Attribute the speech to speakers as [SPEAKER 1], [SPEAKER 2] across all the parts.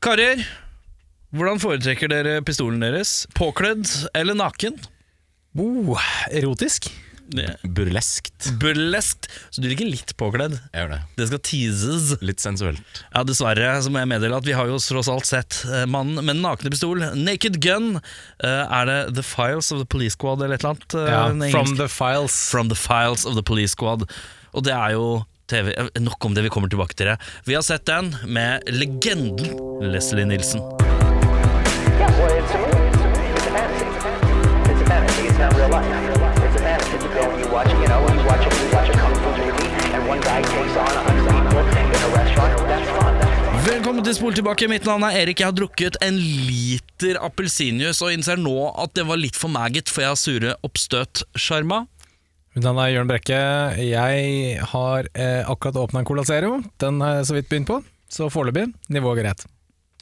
[SPEAKER 1] Karer, hvordan foretrekker dere pistolen deres? Påkledd eller naken?
[SPEAKER 2] Oh, erotisk. Burleskt.
[SPEAKER 1] Burleskt. Så du liker litt påkledd?
[SPEAKER 2] Jeg gjør det.
[SPEAKER 1] Det skal teases.
[SPEAKER 2] Litt sensuelt.
[SPEAKER 1] Ja, dessverre så må jeg meddele at vi har jo tross alt sett eh, Mannen med den nakne pistol, Naked Gun. Eh, er det The Files of the Police Squad eller et eller annet? eh, den engelske-
[SPEAKER 2] from the files.
[SPEAKER 1] From the Files of the Police Squad. Og det er jo TV eh, Nok om det, vi kommer tilbake til det. Vi har sett den med legenden Leslie Nilsen.
[SPEAKER 3] Yeah, well, it's a movie. It's a movie. It's a fantasy. It's a fantasy. It's not real life. It's a fantasy. You go and you watch, you know, you watch, a, you watch a kung fu movie, and one guy takes on a hundred people in a restaurant. That's fun. That's fun.
[SPEAKER 1] Velkommen til Spol tilbake. Mitt navn er Erik. Jeg har drukket en liter appelsinjuice og innser nå at det var litt for maggot, for jeg har sure oppstøt. Sjarma.
[SPEAKER 2] Mitt navn er Jørn Brekke. Jeg har eh, akkurat åpna en Cola Zero. Den har jeg så vidt begynt på, så foreløpig nivået greit.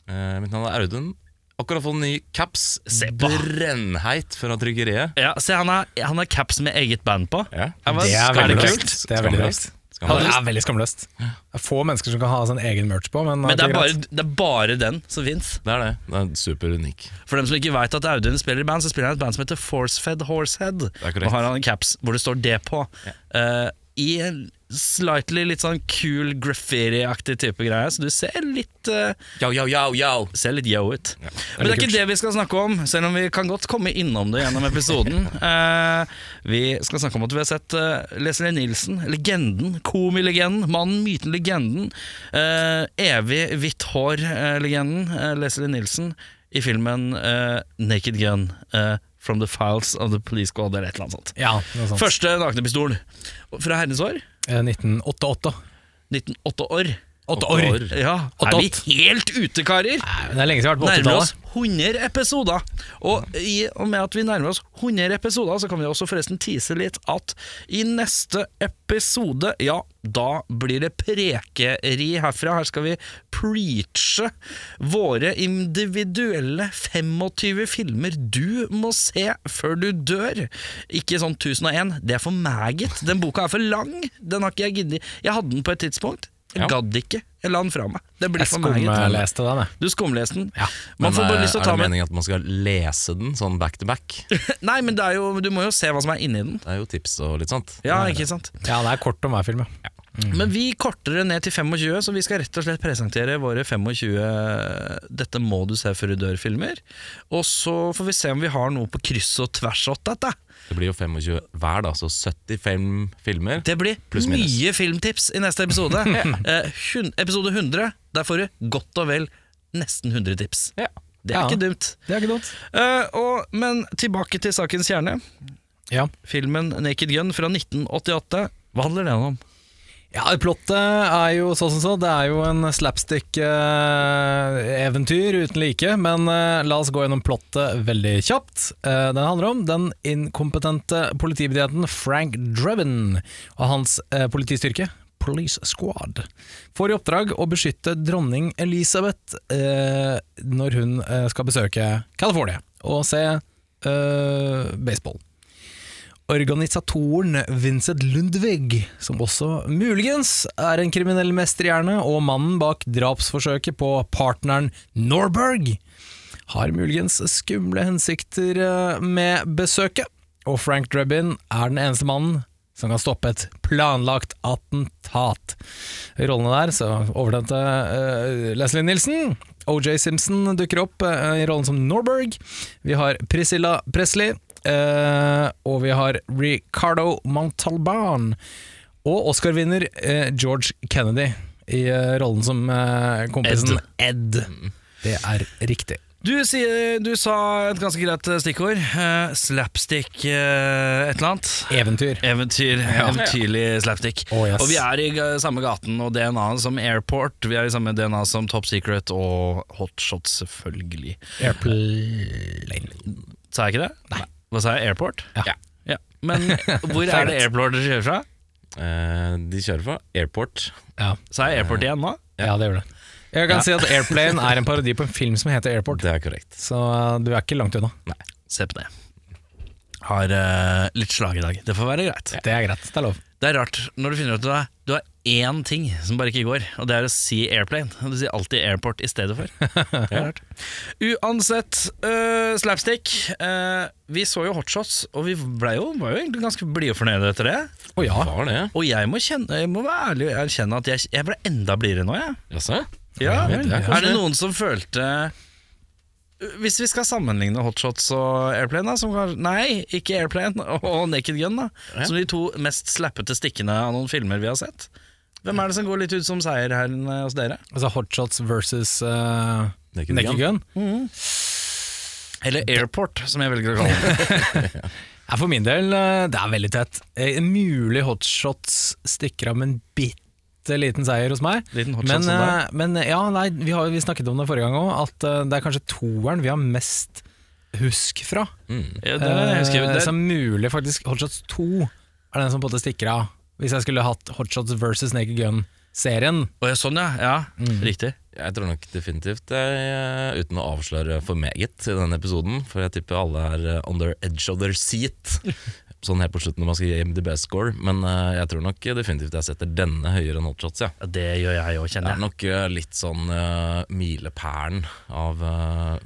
[SPEAKER 4] Eh, mitt navn er Audun. Akkurat fått en ny caps.
[SPEAKER 1] på.
[SPEAKER 4] Brennheit fra tryggeriet.
[SPEAKER 1] Ja, se, han har, han har caps med eget band på.
[SPEAKER 4] Ja.
[SPEAKER 1] Jeg var-
[SPEAKER 2] Det er
[SPEAKER 1] er det
[SPEAKER 2] veldig
[SPEAKER 1] kult?
[SPEAKER 2] rått. Det er veldig
[SPEAKER 4] Skamløst.
[SPEAKER 2] Ja, det
[SPEAKER 4] Skamløst.
[SPEAKER 2] er veldig skamløst. Det er få mennesker som kan ha sin egen merch på, men,
[SPEAKER 1] Men det er,
[SPEAKER 2] greit.
[SPEAKER 1] bare, det er bare den som fins.
[SPEAKER 4] Det er det. Det er super unik.
[SPEAKER 1] For dem som ikke veit at Audun spiller i band, så spiller han i et band som heter Forcefed Horsehead.
[SPEAKER 4] er korrekt.
[SPEAKER 1] Og har han en caps hvor det står det på. Eh, I en slightly litt sånn cool graffiti-aktig type greie, så du ser litt eh,
[SPEAKER 4] Yo, yo, yo, yo.
[SPEAKER 1] Ser litt yo ut. Men det
[SPEAKER 2] veldig
[SPEAKER 1] er ikke
[SPEAKER 2] kult.
[SPEAKER 1] det vi skal snakke om, selv om vi kan godt komme innom det gjennom episoden. Eh, vi skal snakke om at vi har sett uh, Leslie Nilsen, legenden, komilegenden, mannen, myten, legenden, eh, evig hvitt eh, hår-legenden Leslie Nilsen i filmen eh, Naked Gun eh, From the Files of the Police Squad eller et eller annet sånt.
[SPEAKER 2] ja, noe sånt.
[SPEAKER 1] Første nakne pistol fra herrens år,
[SPEAKER 2] Eh, 1988.
[SPEAKER 1] 1908 år.
[SPEAKER 2] Åtte år.
[SPEAKER 1] Ja, er vi helt ute, karer?
[SPEAKER 2] Nei, men Det er lenge siden jeg har vært på
[SPEAKER 1] nærmer oss
[SPEAKER 2] 80-tallet.
[SPEAKER 1] 100 episoder. Og i og med at vi nærmer oss 100 episoder, så kan vi også forresten tease litt at i neste episode, ja, da blir det prekeri herfra. Her skal vi preache våre individuelle 25 filmer du må se før du dør. Ikke sånn 1001, det er for meget. Den boka er for lang. Den har ikke jeg giddet. Jeg hadde den på et tidspunkt. Jeg
[SPEAKER 4] Ja.
[SPEAKER 1] gadd ikke. Jeg la den fra meg. Det blir
[SPEAKER 2] Jeg
[SPEAKER 1] for meget.
[SPEAKER 2] skumleste den, jeg.
[SPEAKER 1] Du skumleste den.
[SPEAKER 2] Ja,
[SPEAKER 1] Man
[SPEAKER 4] Men
[SPEAKER 1] får bare
[SPEAKER 4] eh,
[SPEAKER 1] lyst til å
[SPEAKER 4] er
[SPEAKER 1] ta
[SPEAKER 4] det
[SPEAKER 1] med
[SPEAKER 4] meningen at man skal lese den sånn back to back? Det
[SPEAKER 1] Nei, men det er jo, du må jo se hva som er inni den.
[SPEAKER 4] er jo tips og litt sånt.
[SPEAKER 1] Ja, ikke sant?
[SPEAKER 2] Ja, det er kort om hver film, ja.
[SPEAKER 4] Mm.
[SPEAKER 1] Men vi korter det ned til 25, så vi skal rett og slett presentere våre 25 Dette må du se før du dør-filmer. Og så får vi se om vi har noe på kryss og tvers åt dette.
[SPEAKER 4] Det blir jo 25 hver, da, så 75 filmer.
[SPEAKER 1] Det blir
[SPEAKER 4] Pluss minus.
[SPEAKER 1] mye filmtips i neste episode. Eh, hun- episode 100, der får du godt og vel nesten 100 tips.
[SPEAKER 4] Ja.
[SPEAKER 1] Det er
[SPEAKER 2] Ja.
[SPEAKER 1] ikke dumt.
[SPEAKER 2] Det er ikke dumt.
[SPEAKER 1] Eh, og, men tilbake til sakens kjerne.
[SPEAKER 2] Ja.
[SPEAKER 1] Filmen 'Naked Gun' fra 1988. Hva handler den om?
[SPEAKER 2] Ja, Plottet er jo sånn som så. Det er jo en slapstick-eventyr uten like. Men eh, la oss gå gjennom plottet veldig kjapt. Eh, den handler om den inkompetente politibetjenten Frank Dreven og hans eh, politistyrke. Police Squad får i oppdrag å beskytte dronning Elizabeth eh, når hun eh, skal besøke California og se eh, baseball. Organisatoren Vincent Lundvig, som også muligens er en kriminell mesterhjerne, og mannen bak drapsforsøket på partneren Norberg, har muligens skumle hensikter eh, med besøket. Og Frank Drebin er den eneste mannen som kan stoppe et planlagt attentat. I rollene der så overtente eh, Leslie Nilsen. OJ Simpson dukker opp eh, i rollen som Norberg. Vi har Priscilla Presley. eh, og vi har Ricardo Montalban. Og Oscar-vinner eh, George Kennedy i eh, rollen som eh, kompisen Ed. Det er riktig.
[SPEAKER 1] Du, sier, du sa et ganske greit stikkord. Eh, slapstick eh, et eller annet. Oh,
[SPEAKER 2] Eventyr.
[SPEAKER 1] Eventyr, Eventyrlig slapstick.
[SPEAKER 2] Å, yes.
[SPEAKER 1] Og vi er i ga- samme gaten og DNA-en som Airport. Vi er i samme DNA som Top Secret og Hotshot, selvfølgelig.
[SPEAKER 2] Airplane.
[SPEAKER 1] Sa jeg ikke det? Nei. Hva sa jeg? Airport?
[SPEAKER 2] Ja.
[SPEAKER 1] Ja. Men hvor er det Airport dere kjører fra?
[SPEAKER 4] Eh, de kjører fra airport.
[SPEAKER 2] Ja.
[SPEAKER 1] Sa jeg Airport igjen nå?
[SPEAKER 2] ja, det gjør det. Jeg kan si at Airplane er en parodi på en film som heter Airport,
[SPEAKER 4] Det er korrekt.
[SPEAKER 2] så eh, du er ikke langt unna.
[SPEAKER 1] Se på det. Har eh, litt slag i dag. Det får være greit.
[SPEAKER 2] Det er greit, det er lov.
[SPEAKER 1] Det er rart når du finner ut at du har, du har én ting som bare ikke går, og det er å si airplane. Du sier alltid airport i stedet for. Det er rart. Uansett, øh, slapstick. øh, vi så jo hotshots, og vi ble jo, var jo egentlig ganske blide og fornøyde etter det.
[SPEAKER 2] Å ja.
[SPEAKER 4] Hva var det?
[SPEAKER 1] Og jeg må, kjenne, jeg må være ærlig og erkjenne at jeg, jeg ble enda blidere nå, jeg.
[SPEAKER 4] Jaså?
[SPEAKER 1] Ja,
[SPEAKER 4] Ja, vel, det er
[SPEAKER 1] Er det noen som følte Hvis vi skal sammenligne Hotshots og Airplane da, som kan, Nei, ikke Airplane og Naked Gun da,
[SPEAKER 4] Ja.
[SPEAKER 1] Som de to mest slappete stikkene av noen filmer vi har sett Hvem er det som går litt ut som seier her eh, hos dere?
[SPEAKER 2] Altså hotshots versus uh,
[SPEAKER 4] Naked
[SPEAKER 2] naked, gun.
[SPEAKER 1] Eller Airport, som jeg velger å kalle det
[SPEAKER 2] Ja, for min del, eh, det er veldig tett. Eh, mulig hotshots stikker av med en bitte liten seier hos meg.
[SPEAKER 1] Liten
[SPEAKER 2] Men,
[SPEAKER 1] Hotshots som det er.
[SPEAKER 2] eh, men ja, nei, vi, har, vi snakket om det forrige gang òg, at eh, det er kanskje toeren vi har mest husk fra.
[SPEAKER 1] Ja, det, jeg husker,
[SPEAKER 2] Eh,
[SPEAKER 1] det,
[SPEAKER 2] som mulig, faktisk. Hotshots 2 er den som på en måte stikker av. Hvis jeg skulle hatt Hotshots versus Naked Gun-serien.
[SPEAKER 1] Å, ja, Sånn ja, ja riktig
[SPEAKER 4] Jeg tror nok definitivt eh, Uten å avsløre for meget i denne episoden, for jeg tipper alle er eh, on their edge of their seat. Sånn helt på slutten når man skal gi MDB-score. Men eh, jeg tror nok definitivt jeg setter denne høyere enn hotshots. Ja.
[SPEAKER 1] ja, Det gjør jeg også,
[SPEAKER 4] Det
[SPEAKER 1] kjenner
[SPEAKER 4] er
[SPEAKER 1] jeg
[SPEAKER 4] nok eh, litt sånn eh, milepælen av eh,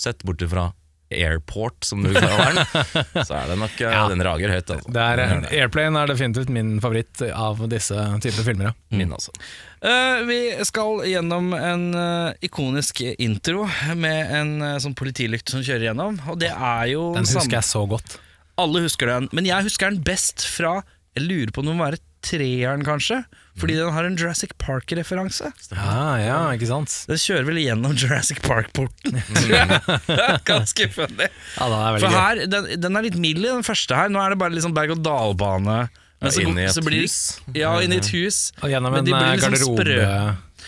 [SPEAKER 4] Sett bort ifra airport, som du kaller den, så er det nok eh,
[SPEAKER 2] Ja.
[SPEAKER 4] Den rager høyt, altså.
[SPEAKER 2] Det er,
[SPEAKER 4] Den gjør det.
[SPEAKER 2] Airplane er definitivt min favoritt av disse typer filmer. Ja.
[SPEAKER 1] Mm.
[SPEAKER 4] Min, altså.
[SPEAKER 1] Eh, vi skal gjennom en eh, ikonisk intro med en eh, sånn politilykt som kjører gjennom. Og det er jo
[SPEAKER 2] Den
[SPEAKER 1] samme-
[SPEAKER 2] husker jeg så godt.
[SPEAKER 1] Alle husker den, men jeg husker den best fra Jeg lurer på om det må være treeren, kanskje. Fordi den har en Jurassic Park-referanse.
[SPEAKER 2] Ja, ja, ikke sant?
[SPEAKER 1] Den kjører vel gjennom Jurassic Park-porten. tror jeg. Ganske funny.
[SPEAKER 2] Ja, da er det
[SPEAKER 1] For
[SPEAKER 2] veldig gøy.
[SPEAKER 1] her, den, den er litt mild i den første her. Nå er det bare liksom berg-og-dal-bane. Men
[SPEAKER 4] Ja, inn i et
[SPEAKER 1] så blir,
[SPEAKER 4] hus.
[SPEAKER 1] Ja, inn i et hus.
[SPEAKER 2] Og gjennom
[SPEAKER 1] Men
[SPEAKER 2] en
[SPEAKER 1] de blir
[SPEAKER 2] eh,
[SPEAKER 1] liksom
[SPEAKER 2] garderobe
[SPEAKER 1] sprø.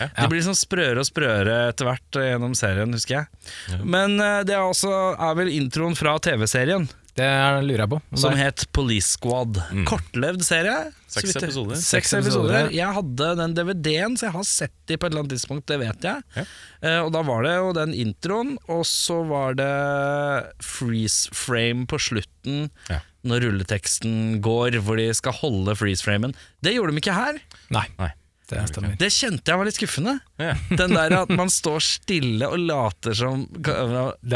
[SPEAKER 2] Ja.
[SPEAKER 1] De blir liksom sprøere og sprøere etter hvert eh, gjennom serien, husker jeg. Men eh, det er, også, er vel introen fra TV-serien,
[SPEAKER 2] Det er- lurer jeg på. om
[SPEAKER 1] som
[SPEAKER 2] det er.
[SPEAKER 1] het Police Squad.
[SPEAKER 4] Mm.
[SPEAKER 1] Kortlevd serie. så
[SPEAKER 4] Seks
[SPEAKER 1] vidt jeg-
[SPEAKER 4] episoder.
[SPEAKER 1] Seks episoder. Jeg hadde den DVD-en, så jeg har sett de på et eller annet tidspunkt, det vet jeg.
[SPEAKER 4] Ja.
[SPEAKER 1] Eh, og da var det jo den introen, og så var det freeze frame på slutten.
[SPEAKER 4] Ja.
[SPEAKER 1] Når rulleteksten går, hvor de skal holde freeze framen. Det gjorde de ikke her.
[SPEAKER 2] Nei,
[SPEAKER 4] Nei.
[SPEAKER 2] det stemmer.
[SPEAKER 1] Det kjente jeg var litt skuffende.
[SPEAKER 4] Ja.
[SPEAKER 1] Den der at man står stille og later som
[SPEAKER 2] Det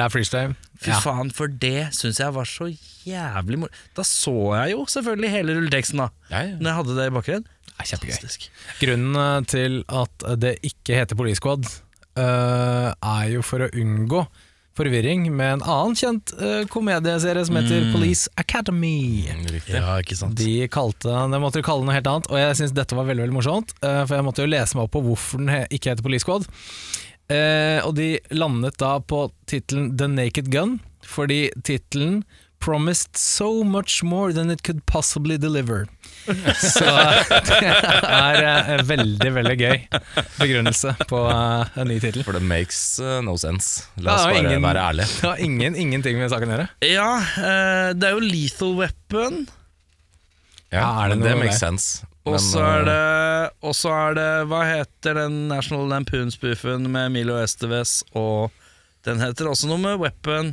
[SPEAKER 2] er freestyle.
[SPEAKER 1] Fy faen, for det syns jeg var så jævlig moro. Da så jeg jo selvfølgelig hele rulleteksten, da.
[SPEAKER 4] Ja, ja.
[SPEAKER 1] Når jeg hadde det i bakgrunnen.
[SPEAKER 2] Det er kjempegøy.
[SPEAKER 1] Fantastisk.
[SPEAKER 2] Grunnen eh, til at det ikke heter Police Squad, eh, er jo for å unngå forvirring med en annen kjent eh, komedieserie som heter Police Academy.
[SPEAKER 4] Riktig.
[SPEAKER 1] Ja, ikke sant.
[SPEAKER 2] De kalte den måtte jo kalle den noe helt annet, og jeg syns dette var veldig veldig morsomt. eh, For jeg måtte jo lese meg opp på hvorfor den he ikke heter Police Squad. Eh, og de landet da på tittelen The Naked Gun, fordi tittelen Promised so much more than it could possibly deliver. Så det er eh, veldig, veldig gøy begrunnelse på eh, en ny tittel.
[SPEAKER 4] For det makes eh, no sense.
[SPEAKER 2] Ja,
[SPEAKER 4] La oss bare
[SPEAKER 2] ingen-
[SPEAKER 4] være ærlige.
[SPEAKER 2] Det har ingen, ingenting med saken å gjøre.
[SPEAKER 1] Ja, eh, det er jo Lethal Weapon,
[SPEAKER 2] Ja, er det
[SPEAKER 4] men
[SPEAKER 2] noe
[SPEAKER 4] det
[SPEAKER 2] med
[SPEAKER 4] makes
[SPEAKER 2] det?
[SPEAKER 4] sense.
[SPEAKER 1] og
[SPEAKER 4] Men,
[SPEAKER 1] så er
[SPEAKER 4] eh,
[SPEAKER 1] det Og så er det Hva heter den National Lampoon-spoofen med Milo Estevez og Den heter også noe med Weapon.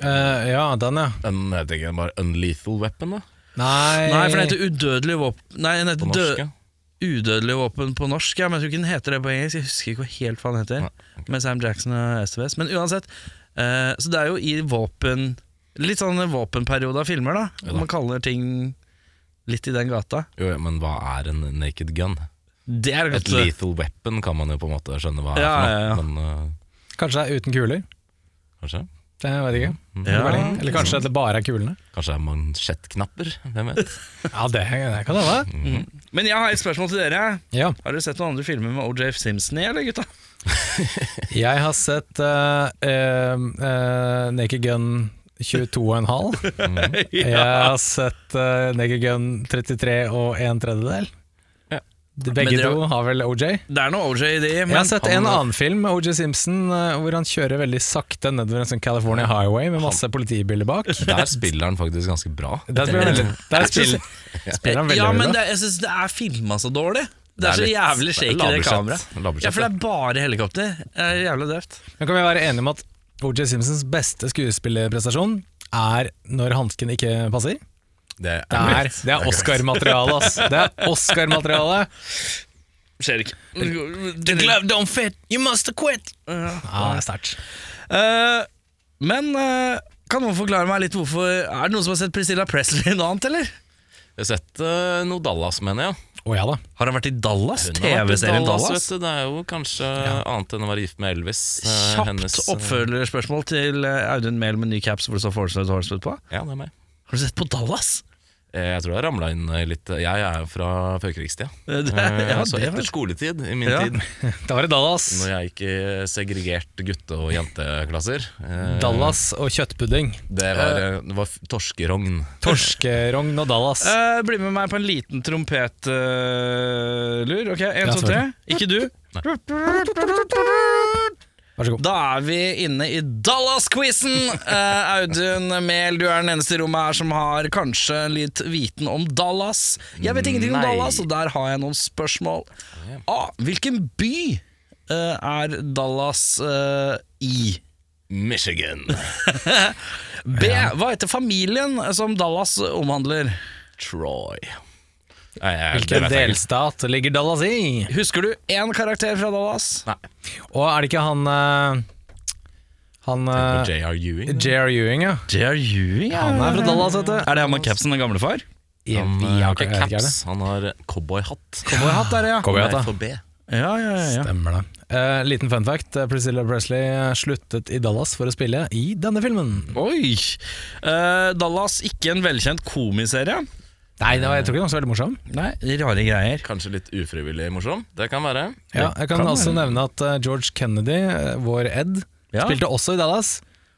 [SPEAKER 2] Eh, ja, den, ja.
[SPEAKER 4] en- Jeg tenker bare Unlethal Weapon, da.
[SPEAKER 2] Nei,
[SPEAKER 1] Nei, for den heter Udødelig våpen Nei, den
[SPEAKER 4] På
[SPEAKER 1] heter Død...
[SPEAKER 4] norsk. ja.
[SPEAKER 1] Udødelig våpen på norsk, ja, men jeg tror ikke den heter det på engelsk. Jeg husker ikke hva helt hva den heter. Med Sam Jackson og SVS. Men uansett, eh, så det er jo i våpen Litt sånn våpenperiode av filmer, da.
[SPEAKER 4] Ja da.
[SPEAKER 1] Man kaller ting litt i den gata.
[SPEAKER 4] Jo, ja, men hva er en naked gun?
[SPEAKER 1] Det er
[SPEAKER 4] Et
[SPEAKER 1] godt.
[SPEAKER 4] lethal weapon kan man jo på en måte skjønne hva er
[SPEAKER 1] Ja,
[SPEAKER 4] for noe,
[SPEAKER 1] ja, ja.
[SPEAKER 4] men eh,
[SPEAKER 2] Kanskje det er uten kuler.
[SPEAKER 4] kanskje
[SPEAKER 2] Det vet jeg ikke.
[SPEAKER 1] Ja. sånn,
[SPEAKER 2] Eller kanskje det bare er kulene?
[SPEAKER 4] Kanskje det er mansjettknapper? Hvem vet?
[SPEAKER 2] Ja, det, det kan hende.
[SPEAKER 1] Men jeg har et spørsmål til dere.
[SPEAKER 2] Ja.
[SPEAKER 1] Har dere sett noen andre filmer med OJ Simpson i, eller gutta?
[SPEAKER 2] Jeg har sett eh, eh, eh, Naked Gun 22,5. Jeg har sett eh, Naked Gun 33 og en tredjedel.
[SPEAKER 4] Ja.
[SPEAKER 2] De,
[SPEAKER 1] Men
[SPEAKER 2] begge
[SPEAKER 1] det er-
[SPEAKER 2] to har vel OJ.
[SPEAKER 1] Det er noe OJ i det,
[SPEAKER 2] Jeg
[SPEAKER 1] men
[SPEAKER 2] har sett en annen film med OJ Simpson eh, hvor han kjører veldig sakte nedover en sånn California highway med masse politibiler bak.
[SPEAKER 4] Der spiller han faktisk ganske bra.
[SPEAKER 2] Der spiller han veldig, der spiller, spiller han veldig,
[SPEAKER 1] Ja, men
[SPEAKER 2] veldig bra.
[SPEAKER 1] det, er- jeg syns det er filma så dårlig. Det er, så
[SPEAKER 4] litt-
[SPEAKER 1] jævlig shaky, det,
[SPEAKER 4] lavbudsjett.
[SPEAKER 1] kameraet.
[SPEAKER 4] Lavbudsjett,
[SPEAKER 1] Ja, for det er bare helikopter. Det er Jævlig døvt.
[SPEAKER 2] Men kan vi være enige om at OJ Simpsons beste skuespillerprestasjon er når hansken ikke passer?
[SPEAKER 4] Det er,
[SPEAKER 2] Det er,
[SPEAKER 4] korrekt.
[SPEAKER 2] det er Oscar-materiale, ass. Det er Oscar-materiale.
[SPEAKER 1] Skjer ikke.
[SPEAKER 2] The glove don't fit, you must have quit. Ja, det er sterkt.
[SPEAKER 1] Eh, men eh, kan noen forklare meg litt hvorfor Er det noen som har sett Priscilla Presley i noe annet, eller?
[SPEAKER 4] Jeg har sett eh, noe Dallas, mener jeg.
[SPEAKER 2] Å ja da.
[SPEAKER 1] Har han vært i Dallas?
[SPEAKER 4] Hun har vært i
[SPEAKER 1] TV-serien Dallas?
[SPEAKER 4] vet du. Det er jo kanskje annet enn å være gift med Elvis. eh,
[SPEAKER 1] Kjapt
[SPEAKER 4] hennes, eh,
[SPEAKER 1] oppfølgerspørsmål til eh, Audun Mehl med ny caps hvor det står Forestad Horsewood på.
[SPEAKER 4] Ja, det er meg.
[SPEAKER 1] Har du sett på Dallas?
[SPEAKER 4] Eh, Jeg tror jeg ramla inn eh, litt Jeg er jo fra førkrigstida.
[SPEAKER 1] Eh, det-
[SPEAKER 4] Eh,
[SPEAKER 1] ja,
[SPEAKER 4] så
[SPEAKER 1] det
[SPEAKER 4] etter
[SPEAKER 1] var-
[SPEAKER 4] skoletid i min
[SPEAKER 1] Ja.
[SPEAKER 4] tid,
[SPEAKER 2] Da var det Dallas.
[SPEAKER 4] når jeg gikk i segregert gutte- og jenteklasser eh,
[SPEAKER 2] Dallas og kjøttpudding.
[SPEAKER 4] Det var, eh, det var f- torskerogn.
[SPEAKER 2] Torskerogn og Dallas.
[SPEAKER 1] Eh, bli med meg på en liten trompetlur. ok, én,
[SPEAKER 2] Ja,
[SPEAKER 1] to, tre. Ikke du.
[SPEAKER 2] Vær så god.
[SPEAKER 1] Da er vi inne i Dallas-quizen! Eh, Audun Mehl, du er den eneste i rommet her som har kanskje litt viten om Dallas. Jeg vet ingenting om
[SPEAKER 4] Nei.
[SPEAKER 1] Dallas, og der har jeg noen spørsmål. A. Hvilken by eh, er Dallas eh, i?
[SPEAKER 4] Michigan.
[SPEAKER 1] B. Hva heter familien eh, som Dallas omhandler?
[SPEAKER 4] Troy. Nei, jeg,
[SPEAKER 2] Hvilken
[SPEAKER 4] det vet jeg ikke.
[SPEAKER 2] delstat ligger Dallas i?
[SPEAKER 1] Husker du én karakter fra Dallas?
[SPEAKER 4] Nei.
[SPEAKER 2] Og er det ikke han eh, Han
[SPEAKER 4] På
[SPEAKER 2] eh,
[SPEAKER 4] J.R. Ewing.
[SPEAKER 2] J.R. Ewing, ja?
[SPEAKER 1] J.R. Ewing?
[SPEAKER 2] Han er fra Dallas, vet du.
[SPEAKER 1] Er det han med capsen, den gamle far?
[SPEAKER 4] Han eh, har ikke
[SPEAKER 2] jeg vet
[SPEAKER 4] caps, han har cowboyhatt.
[SPEAKER 1] Cowboyhatt er det, ja.
[SPEAKER 2] Cowboyhatt,
[SPEAKER 4] Med
[SPEAKER 2] da.
[SPEAKER 4] FHB.
[SPEAKER 1] Ja, ja, ja, ja.
[SPEAKER 2] Stemmer det. Eh, liten fun fact. eh, Priscilla Presley eh, sluttet i Dallas for å spille i denne filmen.
[SPEAKER 1] Oi! Eh, Dallas, ikke en velkjent komiserie.
[SPEAKER 2] Nei, det var, jeg tror ikke den var så veldig morsom.
[SPEAKER 1] Nei, rare greier.
[SPEAKER 4] Kanskje litt ufrivillig morsom. Det kan være.
[SPEAKER 2] Ja, jeg kan
[SPEAKER 1] kan
[SPEAKER 2] også
[SPEAKER 1] være.
[SPEAKER 2] nevne at eh, George Kennedy, eh, vår Ed,
[SPEAKER 1] Ja.
[SPEAKER 2] spilte også i Dallas.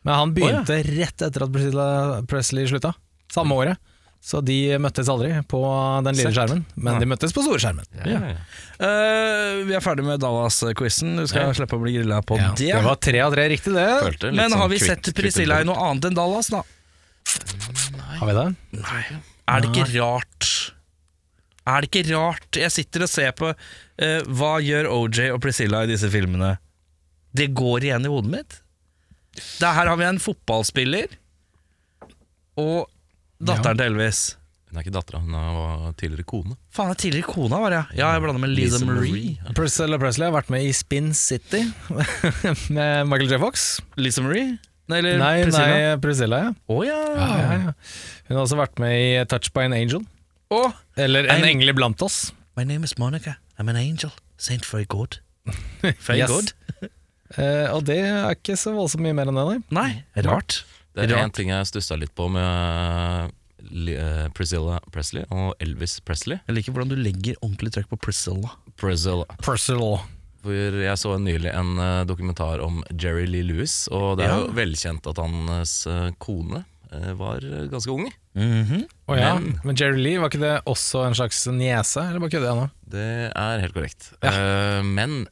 [SPEAKER 2] Men han begynte rett etter at Priscilla Presley slutta. Samme året. Så de møttes aldri på den lille
[SPEAKER 1] Sett.
[SPEAKER 2] skjermen, men de møttes på store skjermen.
[SPEAKER 4] Ja.
[SPEAKER 1] Eh, vi er ferdig med Dallas-quizen. Du skal
[SPEAKER 4] Ja.
[SPEAKER 1] slippe å bli grilla på
[SPEAKER 2] Ja,
[SPEAKER 1] det.
[SPEAKER 2] det var tre av tre riktig, det.
[SPEAKER 4] Følte litt
[SPEAKER 1] Men
[SPEAKER 4] sånn
[SPEAKER 1] har vi
[SPEAKER 4] kvitt-
[SPEAKER 1] sett
[SPEAKER 4] kvitt-
[SPEAKER 1] Priscilla i noe annet enn Dallas, da?
[SPEAKER 2] Har vi det?
[SPEAKER 1] Nei. Er det ikke rart? Er det ikke rart? Jeg sitter og ser på eh, hva gjør OJ og Priscilla i disse filmene. Det går igjen i hodet mitt. Det her har vi en fotballspiller og datteren til Elvis.
[SPEAKER 4] Hun er ikke dattera, hun var tidligere kone.
[SPEAKER 1] Faen, det er tidligere kona var jeg. Ja, jeg blander med Lisa,
[SPEAKER 4] Lisa
[SPEAKER 1] Marie.
[SPEAKER 4] Marie.
[SPEAKER 2] Priscilla Presley har vært med i Spin City med Michael J. Fox.
[SPEAKER 1] Lisa Marie? Nei, eller
[SPEAKER 2] Nei,
[SPEAKER 1] Priscilla?
[SPEAKER 2] nei, Priscilla, ja.
[SPEAKER 1] Å ja.
[SPEAKER 2] ja, ja. Hun har også vært med i Touch by an Angel.
[SPEAKER 1] Og
[SPEAKER 2] Eller En
[SPEAKER 1] En-
[SPEAKER 2] engel iblant oss.
[SPEAKER 1] My name is Monica. I'm an angel. Saint very good. Very
[SPEAKER 2] Yes.
[SPEAKER 1] good?
[SPEAKER 2] Eh, og det er ikke så voldsomt mye mer enn det, nei.
[SPEAKER 1] Nei, rart.
[SPEAKER 4] Det er
[SPEAKER 1] Rart.
[SPEAKER 4] én ting jeg stussa litt på med Li- eh, Priscilla Presley og Elvis Presley.
[SPEAKER 1] Jeg liker hvordan du legger ordentlig trøkk på Priscilla.
[SPEAKER 4] Priscilla.
[SPEAKER 2] Percival.
[SPEAKER 4] Hvor jeg så nylig en eh, dokumentar om Jerry Lee Lewis, og det er jo
[SPEAKER 1] Ja.
[SPEAKER 4] velkjent at hans eh, kone eh, var eh, ganske ung.
[SPEAKER 1] Mhm.
[SPEAKER 2] Å ja.
[SPEAKER 4] Men-
[SPEAKER 2] Men Jerry Lee, var ikke det også en slags niese? Eller bare kødder jeg nå?
[SPEAKER 4] Det er helt korrekt. Eh, men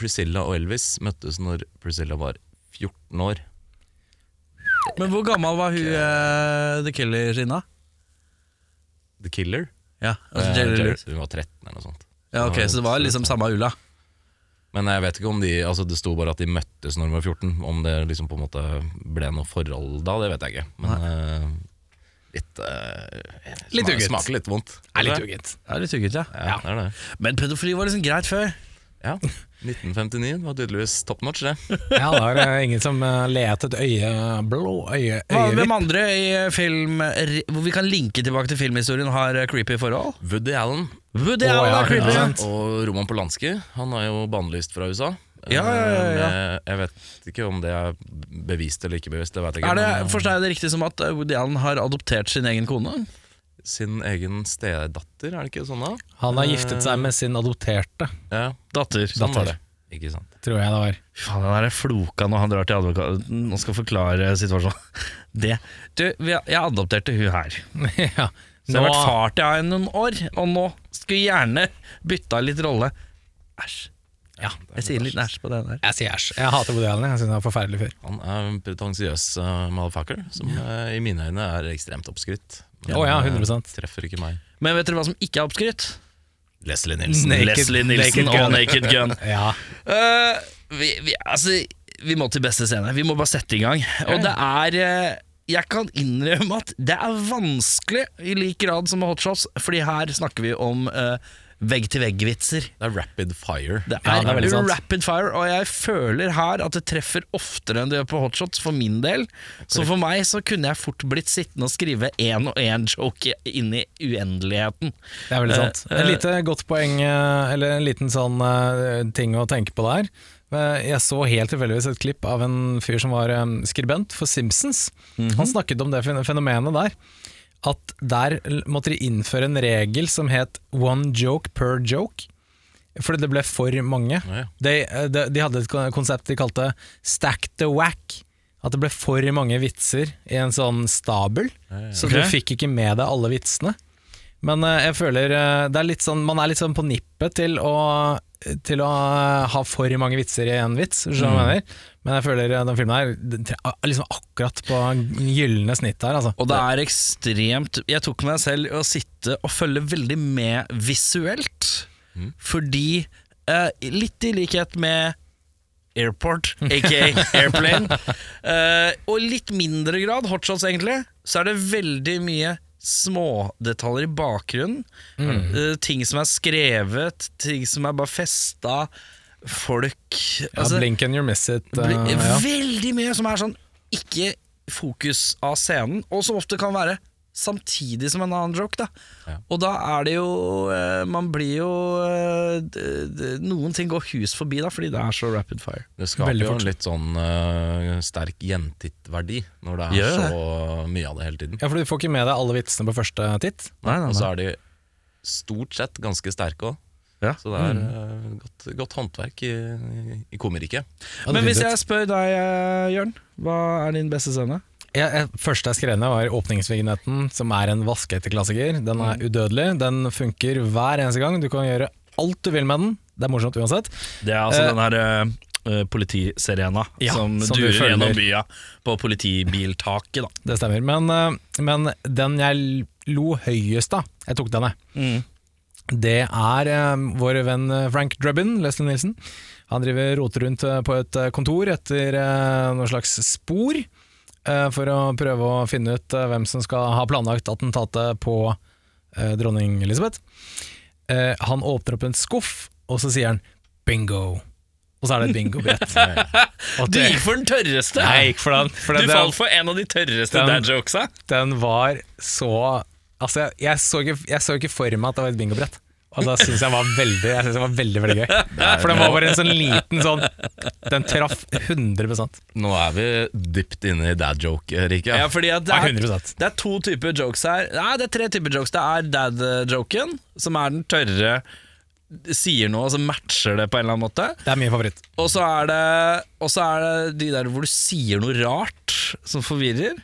[SPEAKER 4] Priscilla og Elvis møttes når Priscilla var 14 år.
[SPEAKER 1] Men hvor gammel var hun eh, The Killer Rina?
[SPEAKER 4] The Killer.
[SPEAKER 1] Ja,
[SPEAKER 4] Eh,
[SPEAKER 1] altså Jerry Lee
[SPEAKER 4] Jerry-
[SPEAKER 1] Lewis.
[SPEAKER 4] Hun var 13 eller noe sånt.
[SPEAKER 1] Ja, ok, Så det var liksom samme ulla?
[SPEAKER 4] Men jeg vet ikke om de Altså det sto bare at de møttes når de var 14. Om det liksom på en måte ble noe forhold da, det vet jeg ikke. Men eh, litt eh,
[SPEAKER 2] Litt
[SPEAKER 4] sma-
[SPEAKER 2] ugget.
[SPEAKER 4] Smaker litt vondt.
[SPEAKER 2] Er litt ugget.
[SPEAKER 1] Ja, litt uggent, ja.
[SPEAKER 4] Ja, det er det.
[SPEAKER 1] Men pedofili var liksom greit før.
[SPEAKER 4] Ja. 1959 var tydeligvis top notch, det.
[SPEAKER 2] Ja, da er det ingen som eh, let et øye blå øye,
[SPEAKER 1] Hva- Hvem
[SPEAKER 2] øyevipp.
[SPEAKER 1] andre i eh, film re- hvor vi kan linke tilbake til filmhistorien, har eh, creepy forhold?
[SPEAKER 4] Woody Allen
[SPEAKER 1] Woody
[SPEAKER 2] Å,
[SPEAKER 1] Allen
[SPEAKER 2] ja,
[SPEAKER 1] er creepy!
[SPEAKER 2] ja.
[SPEAKER 4] og Roman Polanski Han er jo bannlyst fra USA.
[SPEAKER 1] Ja, ja, ja, ja.
[SPEAKER 4] Eh, Jeg vet ikke om det er bevist eller ikke bevist. Det vet jeg ikke
[SPEAKER 1] Er det,
[SPEAKER 4] men, eh,
[SPEAKER 1] Forstår jeg det riktig som at eh, Woody Allen har adoptert sin egen kone?
[SPEAKER 4] Sin egen stedatter, er det ikke sånn da?
[SPEAKER 2] Han har giftet seg med sin adopterte,
[SPEAKER 4] Ja,
[SPEAKER 1] Datter.
[SPEAKER 4] sånn var det. Ikke sant.
[SPEAKER 2] tror jeg det var.
[SPEAKER 1] Faen, han er floka når han drar til advokaten og skal forklare situasjonen. Det. Du, vi, jeg adopterte hun her.
[SPEAKER 2] ja.
[SPEAKER 1] Så jeg
[SPEAKER 2] Nå,
[SPEAKER 1] har vært far til henne noen år, og nå skulle jeg gjerne bytta litt rolle. Æsj.
[SPEAKER 2] ja,
[SPEAKER 1] Jeg sier litt æsj på det der.
[SPEAKER 2] jeg sier æsj. Jeg hater Woody Allen, jeg synes han er forferdelig fyr.
[SPEAKER 4] Han er en pretensiøs eh, motherfucker, som eh, i mine øyne er ekstremt oppskrytt. Men,
[SPEAKER 2] Å ja,
[SPEAKER 4] eh,
[SPEAKER 2] 100%.
[SPEAKER 4] Treffer ikke meg.
[SPEAKER 1] Men vet dere hva som ikke er oppskrytt?
[SPEAKER 4] Leslie Nilsen.
[SPEAKER 2] Naked-
[SPEAKER 1] Leslie Nilsen
[SPEAKER 2] Naked Gun.
[SPEAKER 1] og Naked Gun.
[SPEAKER 2] Ja.
[SPEAKER 1] Eh, vi, vi, altså, vi må til beste scene. Vi må bare sette i gang. Og det er eh, jeg kan innrømme at det er vanskelig i lik grad som med hotshots, fordi her snakker vi om eh, vegg-til-vegg-vitser.
[SPEAKER 4] Det er rapid fire.
[SPEAKER 1] Det
[SPEAKER 2] Ja,
[SPEAKER 1] er,
[SPEAKER 2] det er veldig sant.
[SPEAKER 1] rapid fire, og jeg føler her at det treffer oftere enn det gjør på hotshots, for min del. Så for meg så kunne jeg fort blitt sittende og skrive én og én joke inn i uendeligheten.
[SPEAKER 2] Det er veldig sant.
[SPEAKER 1] Eh,
[SPEAKER 2] Et
[SPEAKER 1] eh,
[SPEAKER 2] lite godt poeng, eh, eller en liten sånn eh, ting å tenke på der. Eh, Jeg så helt tilfeldigvis et klipp av en fyr som var eh, skribent for Simpsons. Han
[SPEAKER 1] Mhm.
[SPEAKER 2] snakket om det fen- fenomenet der. At der l- måtte de innføre en regel som het one joke per joke. Fordi det ble for mange.
[SPEAKER 4] Ja, ja.
[SPEAKER 2] De, eh, de, de hadde et kon- konsept de kalte stack the whack. At det ble for mange vitser i en sånn stabel. Så
[SPEAKER 1] Ok.
[SPEAKER 2] du fikk ikke med deg alle vitsene. Men eh, jeg føler eh, det er litt sånn, man er litt sånn på nippet til å, til å eh, ha for mange vitser i en vits, skjønner du hva
[SPEAKER 1] Mm.
[SPEAKER 2] jeg mener? Men jeg føler eh, den filmen her den tre- er liksom akkurat på gyllene snitt her, altså.
[SPEAKER 1] Og det er ekstremt Jeg tok meg selv i å sitte og følge veldig med visuelt, fordi eh, litt i likhet med Airport, aka Airplane, eh, og litt mindre grad hotshots, egentlig, så er det veldig mye smådetaljer i bakgrunnen. Eh, ting som er skrevet, ting som er bare festa, folk altså,
[SPEAKER 2] ja, blink and you miss it. eh,
[SPEAKER 1] blir
[SPEAKER 2] ja.
[SPEAKER 1] Veldig mye som er sånn ikke fokus av scenen, og som ofte kan være samtidig som en annen joke. Da. Og da er det jo eh, Man blir jo eh, d- d- Noen ting går hus forbi, da, fordi det er så rapid fire.
[SPEAKER 4] Det skaper
[SPEAKER 2] Veldig
[SPEAKER 4] jo
[SPEAKER 2] fort.
[SPEAKER 4] en litt sånn eh, sterk gjentittverdi når det er
[SPEAKER 1] Gjør det?
[SPEAKER 4] så mye av det hele tiden.
[SPEAKER 2] ja, for du får ikke med deg alle vitsene på første titt.
[SPEAKER 4] Og så er de stort sett ganske sterke òg.
[SPEAKER 1] Ja. Mm.
[SPEAKER 4] Så det er eh, godt, godt håndverk i, i komeriket.
[SPEAKER 2] Ja,
[SPEAKER 1] Men
[SPEAKER 2] det
[SPEAKER 1] hvis
[SPEAKER 2] finnes
[SPEAKER 1] jeg spør deg, eh, Jørn, hva er din beste scene?
[SPEAKER 2] Ja, jeg, første jeg skrev ned var åpningsvignetten, som er en vaskeekte-klassiker. Den er udødelig, den funker hver eneste gang. Du kan gjøre alt du vil med den. Det er morsomt uansett.
[SPEAKER 1] Det er
[SPEAKER 2] altså den
[SPEAKER 1] her eh, politisirena
[SPEAKER 2] som durer gjennom
[SPEAKER 1] bya på politibiltaket, da.
[SPEAKER 2] Det stemmer. Men, eh, men den jeg lo høyest av, jeg føler- tok den jeg,
[SPEAKER 1] Mm.
[SPEAKER 2] det er eh, vår venn eh, Frank Drebin, Leslie Nilsen. Han driver roter rundt eh, på et eh, kontor etter eh, noe slags spor, eh, for å prøve å finne ut eh, hvem som skal ha planlagt attentatet på eh, dronning Elisabeth. Eh, han åpner opp en skuff, og så sier han 'bingo'. Og så er det et bingobrett. Og
[SPEAKER 1] Du
[SPEAKER 2] det-
[SPEAKER 1] gikk for den tørreste!
[SPEAKER 2] Nei, jeg gikk for den. For
[SPEAKER 1] du
[SPEAKER 2] det-
[SPEAKER 1] falt for en av de tørreste
[SPEAKER 2] Den-
[SPEAKER 1] dad jokesa.
[SPEAKER 2] den var så Altså, jeg, jeg, så ikke, jeg så ikke for meg at det var et bingobrett. Og da syns jeg var veldig Jeg synes det var veldig, veldig gøy. For den var bare en sånn liten sånn Den traff 100
[SPEAKER 4] Nå er vi dypt inne i dad joke-riket.
[SPEAKER 1] Ja, fordi at det
[SPEAKER 2] Ja,
[SPEAKER 1] er,
[SPEAKER 2] 100%.
[SPEAKER 1] det er to typer jokes her. Nei, det er tre typer jokes. Det er dad-joken, som er den tørre sier noe, og så matcher det på en eller annen måte.
[SPEAKER 2] Det er min favoritt.
[SPEAKER 1] Og så er det, og så er det de der hvor du sier noe rart som forvirrer.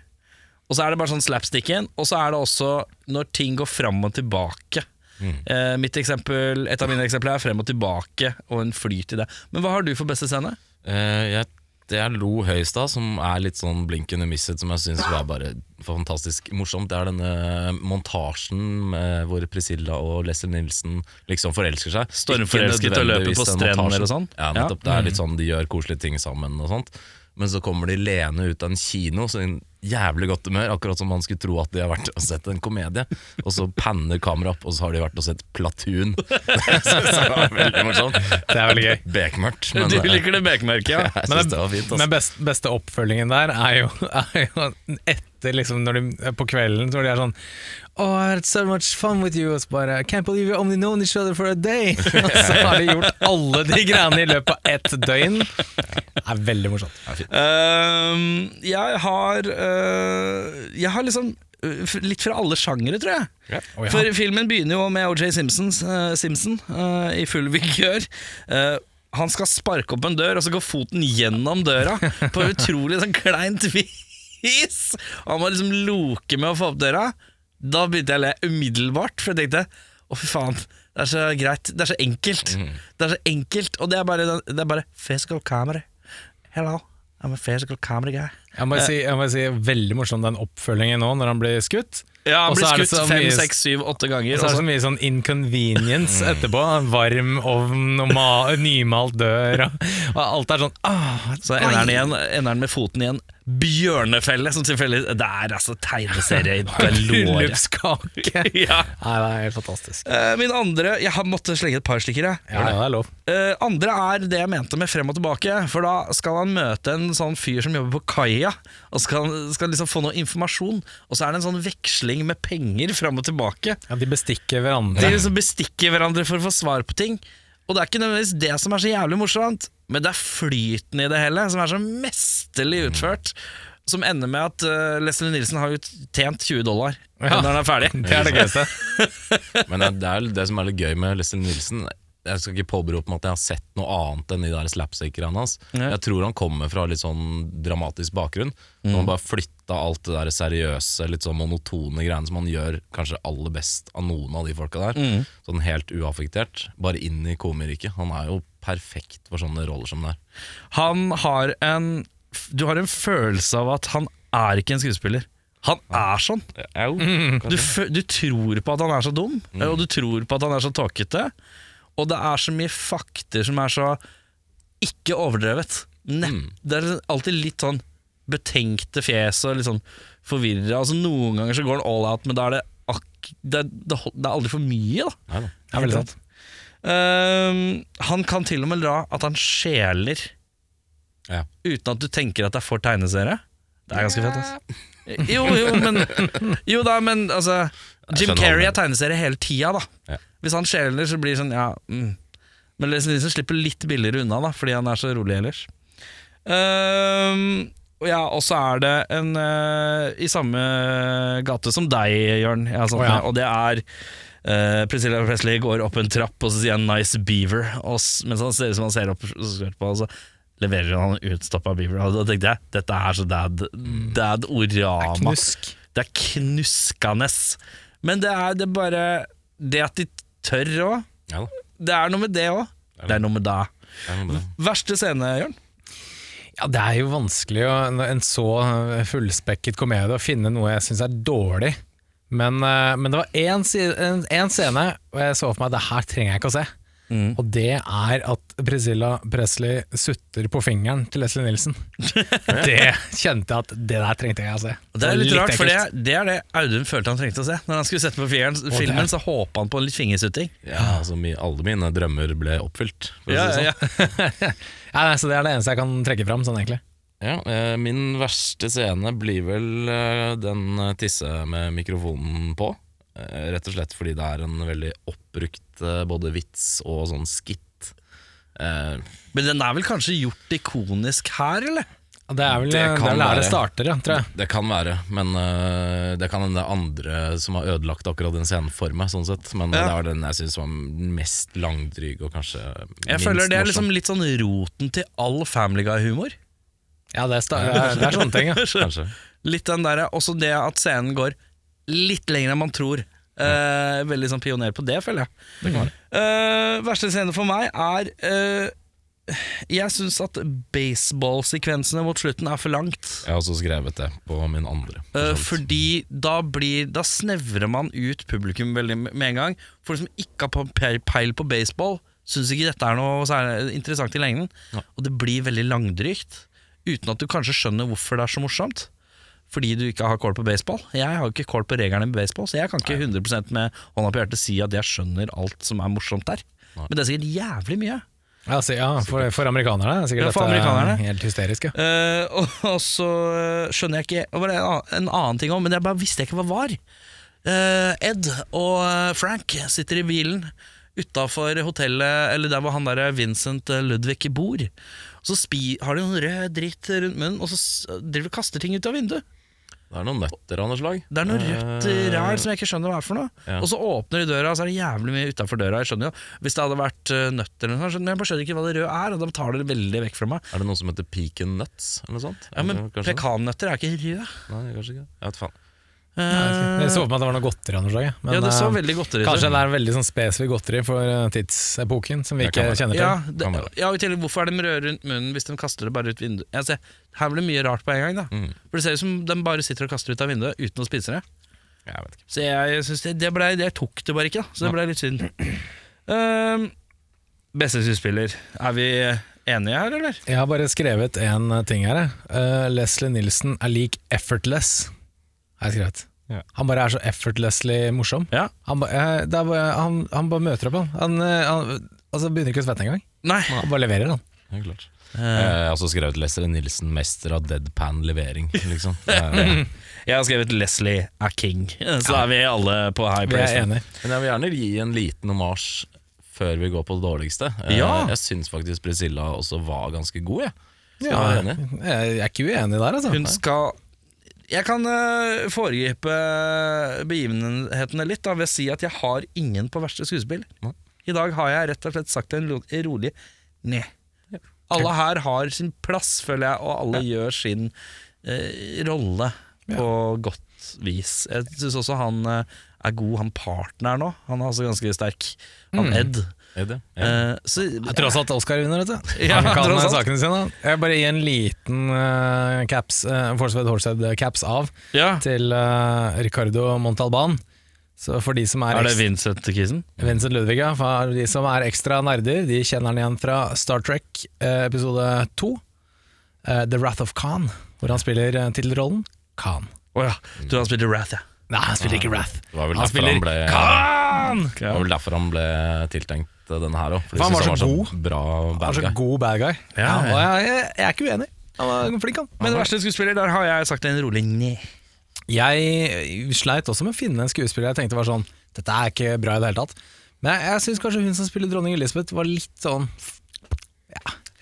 [SPEAKER 1] Og så er det bare sånn slapsticken. Og så er det også når ting går fram og tilbake. Eh, mitt eksempel, Et av mine eksempler er frem og tilbake og en flyt i det. Men hva har du for beste scene?
[SPEAKER 4] Eh, jeg, det jeg lo høyest av, som er litt sånn blinkende misset, som jeg syns var bare fantastisk morsomt, det er denne montasjen med, hvor Priscilla og Leslie Nilsen liksom forelsker seg.
[SPEAKER 1] Stormforelsket
[SPEAKER 4] Ikke
[SPEAKER 1] og løper
[SPEAKER 4] nødvendigvis
[SPEAKER 1] på
[SPEAKER 4] den
[SPEAKER 1] strender
[SPEAKER 4] montasjen.
[SPEAKER 1] og sånn.
[SPEAKER 4] Ja, nettopp. Det er litt sånn de gjør koselige ting sammen og sånt. Men så kommer de leende ut av en kino, så i en jævlig godt humør, akkurat som man skulle tro at de har vært og sett en komedie. Og så panner kameraet opp, og så har de vært og sett Platoon. Det synes jeg var veldig morsomt.
[SPEAKER 2] Det er veldig gøy.
[SPEAKER 4] Bekmørkt.
[SPEAKER 1] du
[SPEAKER 4] eh,
[SPEAKER 1] liker det bekmerket, ja?
[SPEAKER 4] jeg
[SPEAKER 2] Men,
[SPEAKER 4] synes det var fint. altså.
[SPEAKER 2] men best, beste oppfølgingen der er jo, er jo etter liksom når de, på kvelden når de er sånn Oh, I had so much fun with you. Og så bare I Can't believe you only known each other for a day. Og så har de gjort alle de greiene i løpet av ett døgn. Det er veldig morsomt.
[SPEAKER 1] Ehm, jeg har eh, Jeg har liksom eh, f- Litt fra alle sjangere, tror jeg.
[SPEAKER 2] Å, ja.
[SPEAKER 1] For filmen begynner jo med O.J. Simpsons, eh, Simpson eh, i full vigør. Eh, han skal sparke opp en dør, og så går foten gjennom døra på utrolig sånn kleint vis. Og han må liksom loke med å få opp døra. Da begynte jeg å le umiddelbart, for jeg tenkte å, fy faen. Det er så greit. Det er så enkelt. Det er så enkelt, Og det er bare, det er bare physical camera. Hello, I'm a physical camera guy.
[SPEAKER 2] Jeg må, si, jeg må si veldig morsom den oppfølgingen nå når han blir skutt.
[SPEAKER 1] Ja, han
[SPEAKER 2] Og
[SPEAKER 1] blir
[SPEAKER 2] så er det
[SPEAKER 1] skutt
[SPEAKER 2] så
[SPEAKER 1] fem,
[SPEAKER 2] mye-
[SPEAKER 1] seks, syv, åtte ganger.
[SPEAKER 2] Og så er
[SPEAKER 1] og
[SPEAKER 2] det så mye sånn inconvenience etterpå. En varm ovn og ma nymalt dør. Og, og alt er sånn ah,
[SPEAKER 1] Så ender han, igjen, ender han med foten i en Bjørnefelle, som tilfeldigvis Det er altså tegneserie i galore.
[SPEAKER 2] Bryllupskake.
[SPEAKER 1] ja.
[SPEAKER 2] Nei, det er helt fantastisk.
[SPEAKER 1] Eh, Min andre Jeg har måttet slenge et par stykker, jeg.
[SPEAKER 2] Ja, det er lov.
[SPEAKER 1] Eh, andre er det jeg mente med frem og tilbake. For da skal han møte en sånn fyr som jobber på kaia, og skal, skal liksom få noe informasjon. Og så er det en sånn veksling med penger frem og tilbake.
[SPEAKER 2] Ja, de bestikker
[SPEAKER 1] De
[SPEAKER 2] hverandre.
[SPEAKER 1] liksom bestikker hverandre for å få svar på ting. Og det er ikke nødvendigvis det som er så jævlig morsomt, men det er flyten i det hele som er så mesterlig utført. Som ender med at eh, Leslie Nilsen har jo tjent 20 dollar
[SPEAKER 2] Ja.
[SPEAKER 1] når han er ferdig.
[SPEAKER 2] Det er det gøyeste.
[SPEAKER 4] Men det, det er det som er litt gøy med Leslie Nilsen Jeg skal ikke påberope meg at jeg har sett noe annet enn de der slapstickerne hans.
[SPEAKER 1] Nei.
[SPEAKER 4] Jeg tror han kommer fra litt sånn dramatisk bakgrunn. Når han bare flytta alt det der seriøse, litt sånn monotone greiene som han gjør kanskje aller best av noen av de folka der. Sånn helt uaffektert. Bare inn i komeriket. Han er jo perfekt for sånne roller som det er.
[SPEAKER 1] Han har en Du har en følelse av at han er ikke en skuespiller. Han er sånn. Du, fø- du tror på at han er så dum,
[SPEAKER 2] Mm.
[SPEAKER 1] og du tror på at han er så tåkete. Og det er så mye fakter som er så ikke overdrevet. Ne
[SPEAKER 4] Mm.
[SPEAKER 1] Det er alltid litt sånn betenkte fjes og litt sånn forvirra. Altså, noen ganger så går han all out, men da er det, ak det, det, hol- det er aldri for mye, da.
[SPEAKER 4] Neida.
[SPEAKER 2] Det er veldig sant.
[SPEAKER 1] Ehm, han kan til og med dra at han skjeler
[SPEAKER 4] Ja.
[SPEAKER 1] uten at du tenker at det er for tegneserie. Det er ganske fett, altså. Jo, jo, men, jo da, men altså
[SPEAKER 4] Jeg
[SPEAKER 1] Jim
[SPEAKER 4] skjønner
[SPEAKER 1] Carrey
[SPEAKER 4] hva
[SPEAKER 1] er tegneserie hele tida, da.
[SPEAKER 4] Ja.
[SPEAKER 1] Hvis han skjeler, så blir det sånn, ja mm. Men Leslie Nielsen slipper litt billigere unna, da, fordi han er så rolig ellers. Ehm, og ja, og så er det en eh, i samme gate som deg, Jørn. Jeg har satt
[SPEAKER 2] Å, ja.
[SPEAKER 1] med, og det er eh, Priscilla Presley går opp en trapp, og så sier han 'nice beaver'. Og, s- mens han ser ut som han ser opp, så, ser han på, og så leverer han en utstoppa beaver. Og da tenkte jeg dette er så dad, dad orama.
[SPEAKER 2] Knusk.
[SPEAKER 1] Det er knuskende. Men det er det er bare Det at de tør òg.
[SPEAKER 4] Ja da.
[SPEAKER 1] Det er noe med det òg. Det er noe med det.
[SPEAKER 4] Det er noe
[SPEAKER 1] Mm.
[SPEAKER 4] med det.
[SPEAKER 1] Verste scene, Jørn?
[SPEAKER 2] Ja, det er jo vanskelig å, en så fullspekket komedie å finne noe jeg syns er dårlig. Men, eh, men det var én si- en- en scene og jeg så for meg det her trenger jeg ikke å se.
[SPEAKER 1] Mm.
[SPEAKER 2] Og det er at Priscilla Presley sutter på fingeren til Leslie Nilsen. Det kjente jeg at det der trengte jeg å se.
[SPEAKER 1] Det er litt, rart, for det,
[SPEAKER 2] ekkelt.
[SPEAKER 1] det er det Audun følte han trengte å se. Når han skulle sette på fjeren, filmen, så håpa han på litt fingersutting.
[SPEAKER 4] Ja, altså, mi- alle mine drømmer ble oppfylt. for å
[SPEAKER 1] Ja,
[SPEAKER 4] si det sånn.
[SPEAKER 1] ja, ja.
[SPEAKER 2] Ja, nei, så det er det eneste jeg kan trekke fram, sånn egentlig.
[SPEAKER 4] Ja, eh, Min verste scene blir vel eh, den eh, tisse med mikrofonen på. Eh, rett og slett fordi det er en veldig oppbrukt eh, både vits og sånn skitt. Eh,
[SPEAKER 1] Men den er vel kanskje gjort ikonisk her, eller?
[SPEAKER 2] Og Det er vel
[SPEAKER 4] Det
[SPEAKER 2] det er
[SPEAKER 4] kan
[SPEAKER 2] vel der det
[SPEAKER 4] være.
[SPEAKER 2] starter, ja,
[SPEAKER 1] Ah.
[SPEAKER 2] tror jeg.
[SPEAKER 4] det kan være, men eh, det kan hende det er andre som har ødelagt akkurat den scenen for meg. sånn sett Men det
[SPEAKER 1] Ja.
[SPEAKER 4] er den jeg syns var mest langdryg og kanskje
[SPEAKER 1] Jeg
[SPEAKER 4] minst
[SPEAKER 1] føler det er liksom
[SPEAKER 4] morsom.
[SPEAKER 1] litt sånn roten til all Family Guy-humor.
[SPEAKER 2] Ja, det er, sta- det er, det er sånne ting, ja.
[SPEAKER 1] sånn-
[SPEAKER 4] Kanskje.
[SPEAKER 1] Litt den der, Også det at scenen går litt lenger enn man tror. Eh, veldig sånn pioner på det, føler jeg. Eh, verste scene for meg er eh, Jeg syns at baseballsekvensene mot slutten er for langt.
[SPEAKER 4] Jeg har også skrevet det på min andre. for
[SPEAKER 1] Eh,
[SPEAKER 4] så vidt.
[SPEAKER 1] fordi da, blir, da snevrer man ut publikum veldig med en gang. Folk som ikke har pe- pe- peil på baseball, syns ikke dette er noe særlig interessant i lengden.
[SPEAKER 4] Nei.
[SPEAKER 1] Og det blir veldig langdrygt, uten at du kanskje skjønner hvorfor det er så morsomt. Fordi du ikke har kål på baseball. Jeg har jo ikke kål på reglene med baseball, så jeg kan ikke 100 med hånda på hjertet si at jeg skjønner alt som er morsomt der.
[SPEAKER 4] Nei.
[SPEAKER 1] Men det er sikkert jævlig mye.
[SPEAKER 2] Ja, så, ja for, for amerikanerne er sikkert
[SPEAKER 1] Ja, for
[SPEAKER 2] dette
[SPEAKER 1] amerikanerne.
[SPEAKER 2] helt hysterisk. Ja.
[SPEAKER 1] Eh, og, og så eh, skjønner jeg ikke Det var en annen, en annen ting òg, men jeg bare visste jeg ikke hva var. Eh, Ed og eh, Frank sitter i bilen utafor hotellet, eller der hvor han der Vincent eh, Ludvig bor. Og så spi, har de noen rød dritt rundt munnen, og så s- driver de og kaster ting ut av vinduet.
[SPEAKER 4] Det er noen nøtter av noe slag.
[SPEAKER 1] Det er noe rødt
[SPEAKER 4] Eh,
[SPEAKER 1] ræl som jeg ikke skjønner hva er for noe.
[SPEAKER 4] Ja.
[SPEAKER 1] Og så åpner de døra, og så er det jævlig mye utafor døra. Jeg skjønner jo Hvis det hadde vært eh, nøtter eller noe sånt, men jeg bare skjønner ikke hva det røde er, og da tar det veldig vekk fra meg.
[SPEAKER 4] Er det noe som heter pecan nuts? Eller noe sånt?
[SPEAKER 1] Ja, Men
[SPEAKER 4] Eller kanskje-
[SPEAKER 1] pekannøtter er ikke røde.
[SPEAKER 4] Nei, kanskje ikke. Jeg vet faen.
[SPEAKER 2] Jeg så for meg at det var noe godteri av noe slag. jeg. Men,
[SPEAKER 1] Eh, ja, det så
[SPEAKER 2] eh,
[SPEAKER 1] veldig godteri ut.
[SPEAKER 2] Kanskje det er en veldig sånn spesifikk godteri for eh, tidsepoken som vi
[SPEAKER 4] Det
[SPEAKER 2] ikke
[SPEAKER 4] kan være.
[SPEAKER 2] kjenner til.
[SPEAKER 1] ja, det,
[SPEAKER 4] Kan være.
[SPEAKER 1] ja, og i tillegg, Hvorfor er de røde rundt munnen hvis de kaster det bare ut vinduet? Altså, her blir det mye rart på en gang. da For Det ser ut som de bare sitter og kaster ut av vinduet uten å spise det.
[SPEAKER 4] Jeg vet ikke.
[SPEAKER 1] Så jeg, synes det, det ble, jeg tok det bare ikke, da. så det ble litt synd. Um, beste skuespiller. Ehm, Er vi enige her, eller?
[SPEAKER 2] Jeg har bare skrevet en eh, ting her. jeg. Eh, Leslie Nilsen er lik effortless, har jeg skrevet.
[SPEAKER 5] Ja.
[SPEAKER 2] Han bare er så effortlessly morsom.
[SPEAKER 1] Ja.
[SPEAKER 2] Han, ba, eh, det er bare, han, han bare møter opp, han. han, eh, han altså, begynner ikke å svette engang.
[SPEAKER 1] Nei.
[SPEAKER 2] Han bare leverer, han.
[SPEAKER 4] Ja, klart.
[SPEAKER 2] Eh.
[SPEAKER 4] Eh, Jeg har også skrevet Lester Nilsen, mester av deadpan levering. Liksom. Eh,
[SPEAKER 1] Jeg har skrevet 'Leslie er king', så er vi alle på high
[SPEAKER 2] Vi
[SPEAKER 1] place.
[SPEAKER 2] er enige.
[SPEAKER 4] Men jeg vil gjerne gi en liten omasj før vi går på det dårligste. Eh,
[SPEAKER 1] Ja.
[SPEAKER 4] Jeg syns faktisk Priscilla også var ganske god, jeg. Skal
[SPEAKER 2] Ja,
[SPEAKER 4] jeg være
[SPEAKER 2] jeg,
[SPEAKER 4] enig?
[SPEAKER 2] jeg er ikke uenig der, altså.
[SPEAKER 1] Hun skal Jeg kan eh, foregripe begivenhetene litt da, ved å si at jeg har ingen på verste skuespill.
[SPEAKER 4] Nei.
[SPEAKER 1] I dag har jeg rett og slett sagt en ro- rolig ne. Alle her har sin plass, føler jeg, og alle gjør sin eh, rolle på godt vis. Jeg syns også han eh, er god, han partner nå. Han er altså ganske sterk. Han Ed.
[SPEAKER 4] Er det? Ja.
[SPEAKER 1] Eh, så,
[SPEAKER 2] Mm. Jeg tror også at Oscar vinner, vet du.
[SPEAKER 1] Ja,
[SPEAKER 2] Han kan
[SPEAKER 1] tross
[SPEAKER 2] eh,
[SPEAKER 1] alt.
[SPEAKER 2] sakene sine. da. Jeg bare gir en liten eh, caps, uh, Forsved Horsed-caps av
[SPEAKER 1] ja.
[SPEAKER 2] til eh, Ricardo Montalban. Så for de som er,
[SPEAKER 1] Er det
[SPEAKER 2] ekstra-
[SPEAKER 1] Vincent-quizen?
[SPEAKER 2] Vincent Ludvig, ja. For de som er ekstra nerder, de kjenner han igjen fra Star Trek eh, episode 2. eh, The Wrath of Khan, hvor han spiller eh, tittelrollen Khan.
[SPEAKER 1] Å ja. Du, han spilte Wrath, ja.
[SPEAKER 2] Nei, han spiller
[SPEAKER 1] Ah.
[SPEAKER 2] ikke Wrath.
[SPEAKER 4] Det var vel
[SPEAKER 2] Han
[SPEAKER 4] derfor han
[SPEAKER 2] spiller
[SPEAKER 4] ble,
[SPEAKER 2] Khan!
[SPEAKER 4] det var vel derfor han ble tiltenkt eh, denne her òg.
[SPEAKER 2] For han var så
[SPEAKER 4] bra
[SPEAKER 2] Han er
[SPEAKER 4] bad
[SPEAKER 2] så
[SPEAKER 4] guy.
[SPEAKER 2] god bad guy. Ja,
[SPEAKER 1] Ja,
[SPEAKER 2] og jeg, jeg, jeg er ikke uenig. Han var flink, han.
[SPEAKER 1] Men verste skuespiller, der har jeg sagt en rolig ne.
[SPEAKER 2] Jeg sleit også med å finne en skuespiller jeg tenkte var sånn Dette er ikke bra i det hele tatt. Men jeg, jeg syns kanskje hun som spiller dronning Elizabeth, var litt sånn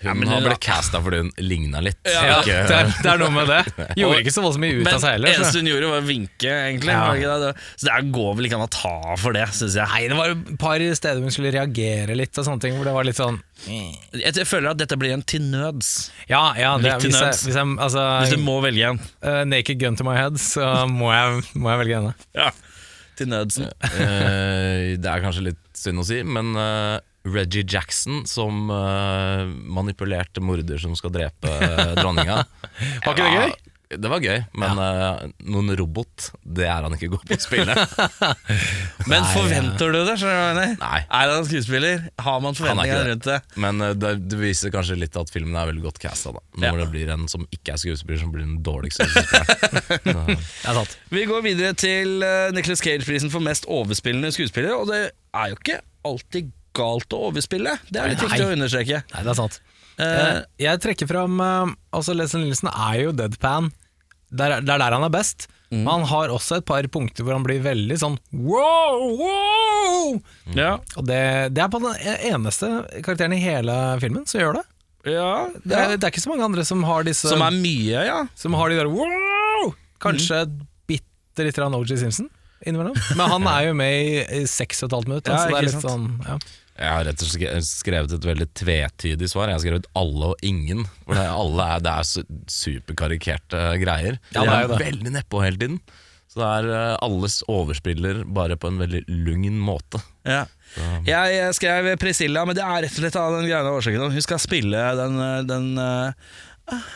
[SPEAKER 4] Hun har blitt casta fordi hun ligna litt.
[SPEAKER 2] Ja, det,
[SPEAKER 4] Ikke-
[SPEAKER 2] er, det er noe med det. Gjorde ikke så voldsomt mye ut av seg heller. så-
[SPEAKER 1] eneste hun gjorde, var å vinke, egentlig.
[SPEAKER 2] Ja.
[SPEAKER 1] var det ikke det? Så det går vel ikke an å ta for det, syns jeg.
[SPEAKER 2] Nei, det var et par steder hun skulle reagere litt og sånne ting, hvor det var litt sånn
[SPEAKER 1] Jeg jeg føler at dette blir en til nøds.
[SPEAKER 2] Ja, ja, det,
[SPEAKER 1] Litt til
[SPEAKER 2] hvis, jeg,
[SPEAKER 1] nøds.
[SPEAKER 2] hvis jeg Altså,
[SPEAKER 1] Hvis du må velge en.
[SPEAKER 2] eh, naked gun to my head, så må jeg, må jeg velge henne.
[SPEAKER 1] Ja. Til nødsen.
[SPEAKER 4] Eh, det er kanskje litt synd å si, men eh, Reggie Jackson som eh, manipulerte morder som skal drepe eh, dronninga.
[SPEAKER 2] Var ikke det gøy?
[SPEAKER 4] Ja, det var gøy, men eh, noen robot, det er han ikke god på å spille.
[SPEAKER 1] Men
[SPEAKER 2] Nei,
[SPEAKER 1] forventer du det? skjønner du hva jeg mener?
[SPEAKER 4] Nei.
[SPEAKER 1] Er han skuespiller? Har man
[SPEAKER 4] Han
[SPEAKER 1] forventninger
[SPEAKER 4] er ikke
[SPEAKER 1] rundt det?
[SPEAKER 4] Men eh, det, det viser kanskje litt at filmen er veldig godt casta, da. Når det blir en som ikke er skuespiller, som blir den dårligste skuespilleren.
[SPEAKER 2] Det er sant.
[SPEAKER 1] Vi går videre til eh, Nicolas Cage-prisen for mest overspillende skuespiller, og det er jo ikke alltid galt å overspille. Det er litt
[SPEAKER 2] Nei.
[SPEAKER 1] viktig å understreke.
[SPEAKER 2] Nei, det er sant.
[SPEAKER 1] Eh,
[SPEAKER 2] Eh, jeg trekker fram eh, Altså, Leslie Nilsen er jo deadpan. Der, er- det er der han er best.
[SPEAKER 1] Mm.
[SPEAKER 2] Men han har også et par punkter hvor han blir veldig sånn wow, wow!
[SPEAKER 1] ja.
[SPEAKER 2] Og det, det er på den eneste karakteren i hele filmen som gjør det.
[SPEAKER 1] ja,
[SPEAKER 2] Det er, det er ikke så mange andre som har disse
[SPEAKER 1] Som er mye, ja.
[SPEAKER 2] Som har de der wow! Kanskje
[SPEAKER 1] Mm.
[SPEAKER 2] bitte litt av OJ Simpson innimellom. Men han er jo med i, i seks og et halvt minutt.
[SPEAKER 1] Ja,
[SPEAKER 2] så det
[SPEAKER 1] ikke
[SPEAKER 2] er litt sånn ja.
[SPEAKER 4] Jeg har rett og slett skrevet et veldig tvetydig svar. Jeg har skrevet 'alle og ingen'. For det er, alle er, det er su- superkarikerte eh, greier.
[SPEAKER 2] Ja, det er jo det.
[SPEAKER 4] veldig nedpå hele tiden. Så det er eh, alles overspiller, bare på en veldig lugn måte.
[SPEAKER 1] Ja. Jeg skrev Priscilla, men det er rett og slett av den greiene årsaken. Hun skal spille den, den eh, ah,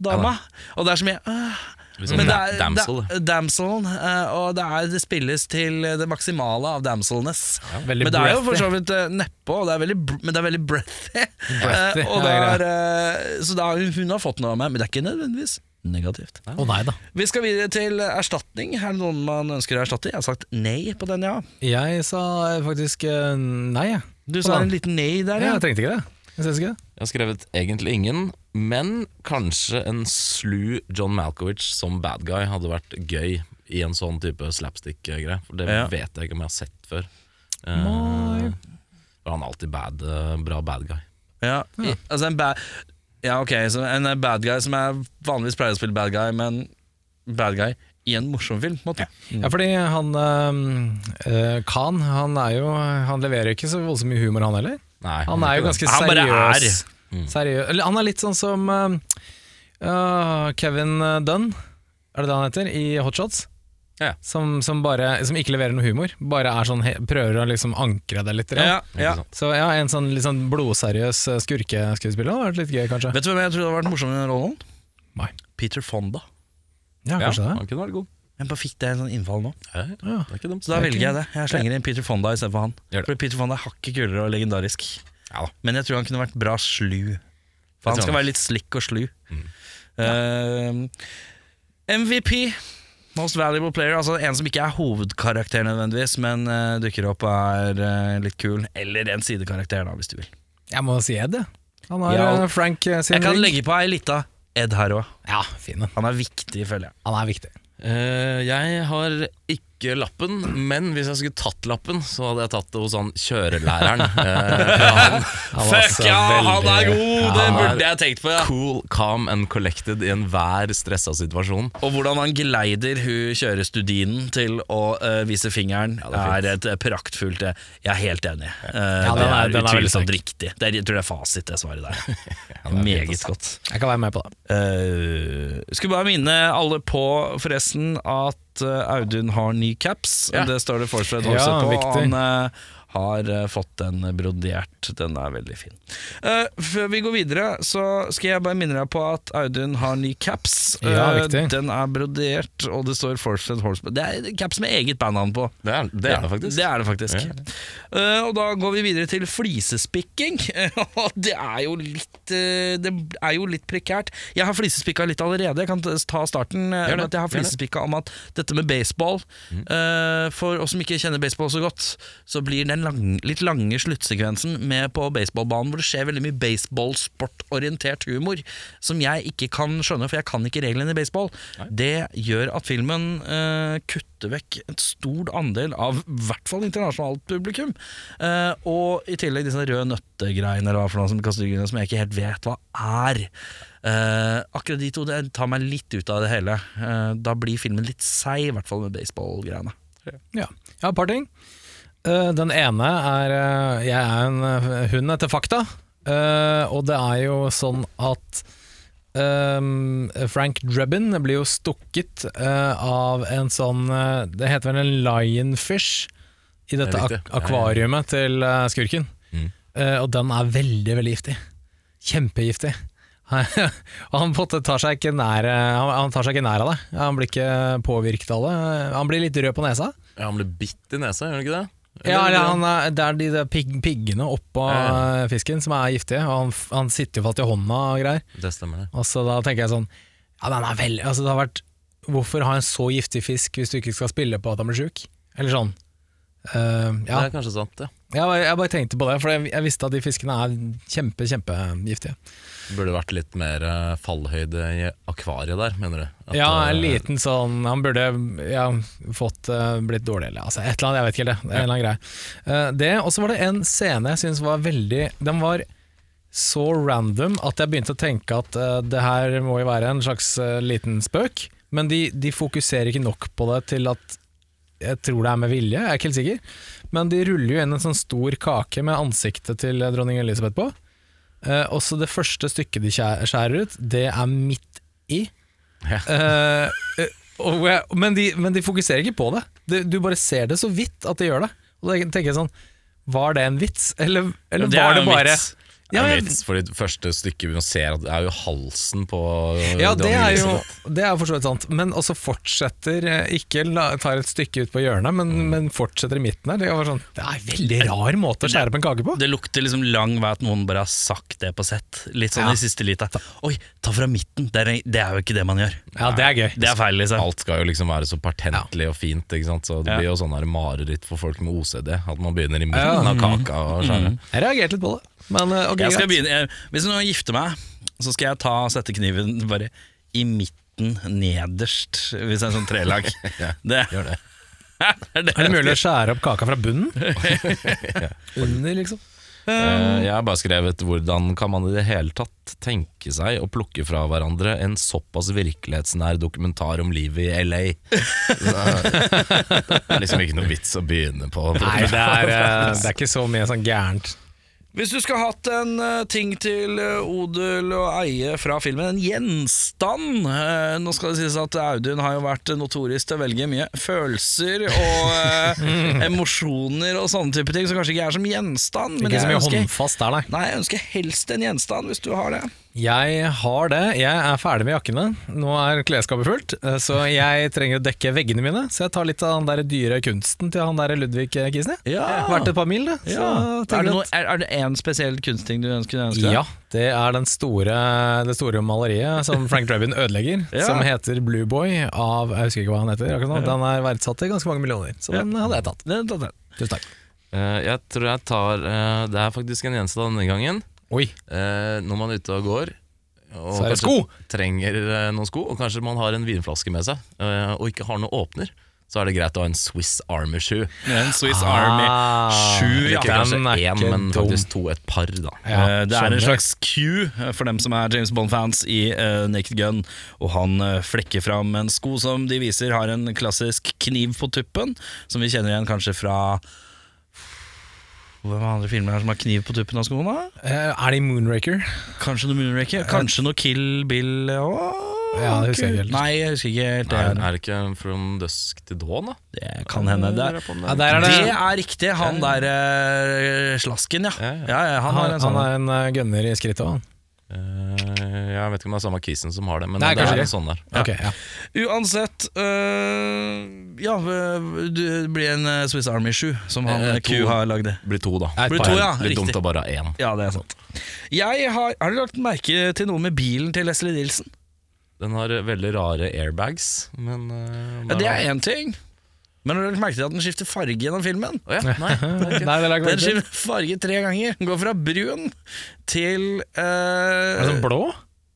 [SPEAKER 1] dama, og det er så mye ah.
[SPEAKER 4] Liksom
[SPEAKER 1] Men det
[SPEAKER 4] da-
[SPEAKER 1] er,
[SPEAKER 4] damsel.
[SPEAKER 1] da- damselen, eh, og det, er, det spilles til det maksimale av damselness.
[SPEAKER 2] veldig
[SPEAKER 1] men det er jo for
[SPEAKER 2] breathy.
[SPEAKER 1] så vidt eh, nedpå, og det er veldig, br- men det er veldig breathy.
[SPEAKER 2] Breathy,
[SPEAKER 1] Eh, og det
[SPEAKER 2] ja,
[SPEAKER 1] er, eh, så da, hun- hun har fått noe av meg, men det er ikke nødvendigvis negativt.
[SPEAKER 2] Å nei da.
[SPEAKER 1] Vi skal videre til erstatning. Er det noen man ønsker å erstatte? Jeg har sagt nei på den, ja.
[SPEAKER 2] Jeg sa faktisk eh, nei, jeg.
[SPEAKER 1] Du
[SPEAKER 2] På
[SPEAKER 1] sa
[SPEAKER 2] den.
[SPEAKER 1] en liten nei der,
[SPEAKER 2] Ja,
[SPEAKER 1] ja.
[SPEAKER 2] jeg trengte ikke det. Jeg synes ikke det.
[SPEAKER 4] Jeg har skrevet egentlig ingen, men kanskje en slu John Malkovich som bad guy hadde vært gøy i en sånn type slapstick-greie. For det
[SPEAKER 1] Ja.
[SPEAKER 4] vet jeg ikke om jeg har sett før. Eh, for han er alltid bad, eh, bra bad guy.
[SPEAKER 1] Ja, i- altså en bad Ja, ok, så en eh, bad guy som er vanligvis pleier å spille bad guy, men bad guy i en morsom film, på en måte.
[SPEAKER 2] Ja, fordi han eh, eh, Khan, han er jo Han leverer ikke så voldsomt mye humor, han heller.
[SPEAKER 4] Nei,
[SPEAKER 2] Han er jo
[SPEAKER 4] ikke det.
[SPEAKER 2] ganske
[SPEAKER 1] Han bare er. Mm.
[SPEAKER 2] seriøs. seriøs. Eller han er litt sånn som eh, øh, Kevin Dunn, er det det han heter, i Hotshots?
[SPEAKER 4] Ja.
[SPEAKER 2] Som, som, bare, som ikke leverer noe humor, bare er sånn, he, prøver å liksom ankre det litt.
[SPEAKER 1] Ja,
[SPEAKER 2] Ja.
[SPEAKER 1] ja.
[SPEAKER 4] Ikke sant?
[SPEAKER 2] Så ja, en sånn litt sånn blodseriøs eh, skurkeskuespiller hadde vært litt gøy, kanskje.
[SPEAKER 1] Vet du hvem jeg trodde hadde vært morsom i den rollen?
[SPEAKER 2] Nei.
[SPEAKER 1] Peter Fonda.
[SPEAKER 2] Ja,
[SPEAKER 4] Ja,
[SPEAKER 2] kanskje det.
[SPEAKER 4] han kunne vært god.
[SPEAKER 1] Jeg bare fikk det en sånn innfall nå.
[SPEAKER 4] Ja, ja.
[SPEAKER 2] Ja.
[SPEAKER 4] Det er ikke dumt.
[SPEAKER 1] Så da velger jeg det. Jeg slenger inn Peter Fonda istedenfor han.
[SPEAKER 4] Gjør det.
[SPEAKER 1] For Peter Fonda er hakket kulere og legendarisk.
[SPEAKER 4] Ja da.
[SPEAKER 1] Men jeg tror han kunne vært bra slu. For han
[SPEAKER 4] Jeg Mm. tror
[SPEAKER 1] skal
[SPEAKER 4] han-
[SPEAKER 1] være litt slikk og slu. Eh, MVP, Most Valuable Player, altså en som ikke er hovedkarakter nødvendigvis, men eh, dukker opp og er eh, litt kul. Eller en sidekarakter, da, hvis du vil.
[SPEAKER 2] Jeg må si Ed, jeg. Han har
[SPEAKER 1] Ja.
[SPEAKER 2] eh, Frank eh, sin
[SPEAKER 1] Jeg kan
[SPEAKER 2] rigg.
[SPEAKER 1] legge på ei lita Ed her òg.
[SPEAKER 2] Ja, fin en.
[SPEAKER 1] Han er viktig, føler jeg.
[SPEAKER 2] Han er viktig.
[SPEAKER 4] Eh, jeg har ikke lappen, men hvis jeg skulle tatt lappen, så hadde jeg tatt det hos han kjørelæreren. Eh, for han, han var så veldig-
[SPEAKER 1] Det
[SPEAKER 4] han er
[SPEAKER 1] burde jeg tenkt på, ja.
[SPEAKER 4] Cool, calm and collected i enhver stressa situasjon.
[SPEAKER 1] Og hvordan han geleider hun kjørestudinen til å eh, vise fingeren,
[SPEAKER 4] Ja,
[SPEAKER 1] er, et eh, praktfullt eh, Jeg er helt enig. Eh,
[SPEAKER 2] Ja,
[SPEAKER 1] det
[SPEAKER 2] den er-
[SPEAKER 1] er,
[SPEAKER 2] den er veldig
[SPEAKER 1] utvilsomt riktig. Det er, jeg tror det er fasit, det svaret der. Meget
[SPEAKER 2] altså.
[SPEAKER 1] godt.
[SPEAKER 2] Jeg kan være med på det.
[SPEAKER 1] Eh, skulle bare minne alle på, forresten, at eh, Audun har ny caps.
[SPEAKER 4] Ja.
[SPEAKER 1] Det står det Forsvaret
[SPEAKER 2] Ja,
[SPEAKER 1] Dorset på.
[SPEAKER 2] viktig.
[SPEAKER 1] Han eh, har eh, fått den brodert. Den er veldig fin. Eh, før vi går videre, så skal jeg bare minne deg på at Audun har ny caps.
[SPEAKER 2] Ja,
[SPEAKER 1] Eh,
[SPEAKER 2] viktig.
[SPEAKER 1] den er brodert, og det står Forsvaret Horseman. Det er caps med eget bandnavn på.
[SPEAKER 4] Det er det, er det faktisk.
[SPEAKER 1] Det er det faktisk.
[SPEAKER 4] Ja.
[SPEAKER 1] Eh, og da går vi videre til flisespikking. Og det er jo litt eh, Det er jo litt prekært. Jeg har flisespikka litt allerede. Jeg kan t- ta starten. eh,
[SPEAKER 4] Gjør det,
[SPEAKER 1] med at jeg har
[SPEAKER 4] gjør det. Mm.
[SPEAKER 1] flisespikka om at dette med baseball eh, For oss som ikke kjenner baseball så godt, så blir den lang, litt lange sluttsekvensen med på baseballbanen hvor det skjer veldig mye baseballsportorientert humor som jeg ikke kan skjønne, for jeg kan ikke reglene i baseball. Det gjør at filmen eh, kutter vekk et stor andel av i hvert fall internasjonalt publikum. Eh, og i tillegg disse røde nøttegreiene eller hva for noe som kaster greiene som jeg ikke helt vet hva er. Eh, akkurat de to det tar meg litt ut av det hele. Eh, da blir filmen litt seig, i hvert fall med baseballgreiene.
[SPEAKER 2] Ja, jeg har et par ting. Eh, den ene er eh, Jeg er en eh, hund etter fakta, Eh, og det er jo sånn at eh, Frank Drebin blir jo stukket eh, av en sånn eh, Det heter vel en lionfish i dette
[SPEAKER 4] Det er
[SPEAKER 2] ak
[SPEAKER 4] riktig.
[SPEAKER 2] akvariumet til eh, skurken.
[SPEAKER 4] Mm.
[SPEAKER 2] Eh, og den er veldig, veldig giftig. Kjempegiftig. Og han på en måte tar seg ikke nær eh, han, han tar seg ikke nær av det. Han blir ikke påvirket av det. Han blir litt rød på nesa.
[SPEAKER 4] Ja, han ble bitt i nesa, gjør han ikke det?
[SPEAKER 2] Ja, eller han er, det er de der pig, piggene oppå
[SPEAKER 4] Ja,
[SPEAKER 2] eh, fisken som er giftige, og han, f- han sitter jo fast i hånda og greier.
[SPEAKER 4] Det stemmer, det.
[SPEAKER 2] Og så da tenker jeg sånn Ja, den er veldig Altså, det har vært Hvorfor ha en så giftig fisk hvis du ikke skal spille på at han blir sjuk? Eller sånn. Eh, ja,
[SPEAKER 4] Det er kanskje sant, det.
[SPEAKER 2] jeg, bare- jeg bare tenkte på det, for jeg, jeg visste at de fiskene er kjempe, kjempegiftige.
[SPEAKER 4] Det Burde vært litt mer eh, fallhøyde i akvariet der, mener du? At,
[SPEAKER 2] Ja,
[SPEAKER 4] eh,
[SPEAKER 2] en liten sånn Han burde ja, fått eh, blitt dårlig, eller altså, et eller annet. Jeg vet ikke helt det. En eller annen greie. Eh, det, og så var det en scene jeg syns var veldig Den var så random at jeg begynte å tenke at eh, det her må jo være en slags eh, liten spøk, men de, de fokuserer ikke nok på det til at jeg tror det er med vilje, jeg er ikke helt sikker. Men de ruller jo inn en sånn stor kake med ansiktet til eh, dronning Elisabeth på. Eh, også det første stykket de skjæ- skjærer ut, det er midt i. Eh, eh, og hvor jeg- men, de, men de fokuserer ikke på det. det. Du bare ser det så vidt at de gjør det. Og da tenker jeg sånn Var det en vits, eller, eller
[SPEAKER 1] Ja, det er
[SPEAKER 2] var det
[SPEAKER 1] jo en
[SPEAKER 2] bare
[SPEAKER 1] vits.
[SPEAKER 4] Det
[SPEAKER 2] Ja,
[SPEAKER 4] er
[SPEAKER 2] jeg-
[SPEAKER 4] en vits, for det første stykket vi ser, at det er jo halsen på øh, liksom.
[SPEAKER 2] ja, det
[SPEAKER 4] dronning
[SPEAKER 2] er jo
[SPEAKER 4] Elisabeth.
[SPEAKER 2] det er jo for så vidt sant. Men også fortsetter eh, Ikke la- tar et stykke ut på hjørnet, men,
[SPEAKER 1] Mm.
[SPEAKER 2] men fortsetter i midten her. Det, var sånn, det er en veldig rar måte å skjære opp en kake på.
[SPEAKER 1] Det lukter liksom lang vei at noen bare har sagt det på sett. Litt sånn
[SPEAKER 2] Ja.
[SPEAKER 1] i siste lita. Oi, ta fra midten! Det er, det er jo ikke det man gjør.
[SPEAKER 2] Ja, det er gøy.
[SPEAKER 1] Det er feil, liksom.
[SPEAKER 4] Alt skal jo liksom være så pertentlig og fint, ikke sant? så det
[SPEAKER 1] Ja.
[SPEAKER 4] blir jo sånn her mareritt for folk med OCD. At man begynner i midten
[SPEAKER 2] Ja. Mm.
[SPEAKER 4] av kaka og skjære.
[SPEAKER 2] Jeg reagerte litt på det. Men eh, ok,
[SPEAKER 1] Jeg skal begynne,
[SPEAKER 2] greit.
[SPEAKER 1] jeg, hvis noen gifter meg, så skal jeg ta sette kniven bare i midten, nederst, hvis det er sånn trelag. det.
[SPEAKER 4] Gjør det.
[SPEAKER 1] er det.
[SPEAKER 2] Er det mulig å skjære opp kaka fra bunnen? Under, liksom.
[SPEAKER 4] Eh, Jeg har bare skrevet hvordan kan man i det hele tatt tenke seg å plukke fra hverandre en såpass virkelighetsnær dokumentar om livet i LA. Så, Det er liksom ikke noe vits å begynne på.
[SPEAKER 2] Nei, det er, eh, det er ikke så mye sånn gærent.
[SPEAKER 1] Hvis du skulle hatt en eh, ting til eh, odel og eie fra filmen, en gjenstand eh, Nå skal det sies at Audun har jo vært notorisk til å velge mye følelser og eh, emosjoner og sånne type ting, som kanskje ikke er som gjenstand. Men
[SPEAKER 2] Ikke så
[SPEAKER 1] jeg
[SPEAKER 2] mye
[SPEAKER 1] ønsker,
[SPEAKER 2] håndfast der, nei.
[SPEAKER 1] nei, jeg ønsker helst en gjenstand, hvis du har det.
[SPEAKER 2] Jeg har det. Jeg er ferdig med jakkene. Nå er klesskapet fullt, eh, så jeg trenger å dekke veggene mine. Så jeg tar litt av den der dyre kunsten til han der Ludvig Kisne.
[SPEAKER 1] Ja.
[SPEAKER 2] Vært et par mil, det. Så
[SPEAKER 1] Ja. Er
[SPEAKER 2] tenker
[SPEAKER 1] det
[SPEAKER 2] jeg
[SPEAKER 1] noe-
[SPEAKER 2] at-
[SPEAKER 1] er- er det én spesiell kunstting du ønsker? Du ønsker deg?
[SPEAKER 2] Ja, det er den store, det store maleriet som Frank Drabin ødelegger,
[SPEAKER 1] Ja.
[SPEAKER 2] som heter Blue Boy av Jeg husker ikke hva han heter akkurat nå. Den er verdsatt til ganske mange millioner, så
[SPEAKER 1] Ja.
[SPEAKER 2] den hadde jeg tatt.
[SPEAKER 1] Den, den, den.
[SPEAKER 2] Tusen takk.
[SPEAKER 4] Eh, jeg tror jeg tar eh, Det er faktisk en gjenstand denne gangen.
[SPEAKER 2] Oi,
[SPEAKER 4] Eh, når man er ute og går og
[SPEAKER 2] Så er det
[SPEAKER 4] kanskje
[SPEAKER 2] sko!
[SPEAKER 4] trenger eh, noen sko, og kanskje man har en vinflaske med seg eh, og ikke har noen åpner, så er det greit å ha en Swiss Army shoe.
[SPEAKER 1] En Swiss
[SPEAKER 2] Ah,
[SPEAKER 1] Sju,
[SPEAKER 4] Ikke
[SPEAKER 1] ja.
[SPEAKER 4] kanskje
[SPEAKER 2] Den er
[SPEAKER 4] én,
[SPEAKER 2] ikke
[SPEAKER 4] men
[SPEAKER 2] dum.
[SPEAKER 4] faktisk to, et par, da.
[SPEAKER 2] Ja,
[SPEAKER 1] Eh, det er en
[SPEAKER 2] skjønner.
[SPEAKER 1] slags Q eh, for dem som er James Bond-fans i eh, Naked Gun. Og han eh, flekker fram en sko som de viser har en klassisk kniv på tuppen, som vi kjenner igjen kanskje fra hvem er andre filmer her som har kniv på tuppen av skoene?
[SPEAKER 2] Eh, Er det i Moonraker?
[SPEAKER 1] Kanskje noe Moonraker? Kanskje noe Kill Bill? Åh,
[SPEAKER 2] Eh, Ja, det husker jeg ikke helt.
[SPEAKER 1] Nei, jeg husker ikke helt.
[SPEAKER 4] Er,
[SPEAKER 1] det.
[SPEAKER 4] er det ikke From Dusk til Dawn, da?
[SPEAKER 1] Det kan hende. Det er,
[SPEAKER 4] Lurer jeg på om
[SPEAKER 2] Ja,
[SPEAKER 4] det er-
[SPEAKER 2] der er
[SPEAKER 1] det
[SPEAKER 2] det.
[SPEAKER 1] er riktig. Han der eh, slasken, ja.
[SPEAKER 4] Ja, ja.
[SPEAKER 1] ja, ja han har
[SPEAKER 2] Han,
[SPEAKER 1] en sånn.
[SPEAKER 2] han er en eh, gunner i skrittet òg.
[SPEAKER 4] Eh, jeg vet ikke om det er samme kisen som har det, men
[SPEAKER 2] Nei,
[SPEAKER 4] det
[SPEAKER 2] kanskje
[SPEAKER 4] er en
[SPEAKER 2] ikke.
[SPEAKER 4] sånn der.
[SPEAKER 2] Ok, ja.
[SPEAKER 1] Uansett øh, Ja, øh, det blir en øh, Swiss Army 7 som han
[SPEAKER 4] Eh,
[SPEAKER 1] øh,
[SPEAKER 4] to.
[SPEAKER 1] Q har lagd.
[SPEAKER 4] Blir to, da.
[SPEAKER 2] Et
[SPEAKER 1] Blir
[SPEAKER 2] par.
[SPEAKER 1] to, ja.
[SPEAKER 4] Litt dumt
[SPEAKER 1] Riktig.
[SPEAKER 4] å bare ha én.
[SPEAKER 1] Ja, det er sant. Jeg har, har du lagt merke til noe med bilen til Leslie Nielsen?
[SPEAKER 4] Den har eh, veldig rare airbags, men eh,
[SPEAKER 1] Ja, det er én ting. Men har du lagt merke til at den skifter farge gjennom filmen?
[SPEAKER 4] Å ja, nei,
[SPEAKER 2] Nei,
[SPEAKER 4] det er ikke.
[SPEAKER 2] det er
[SPEAKER 1] Den skifter farge tre ganger. Den går fra brun til, øh,
[SPEAKER 2] Er det sånn blå?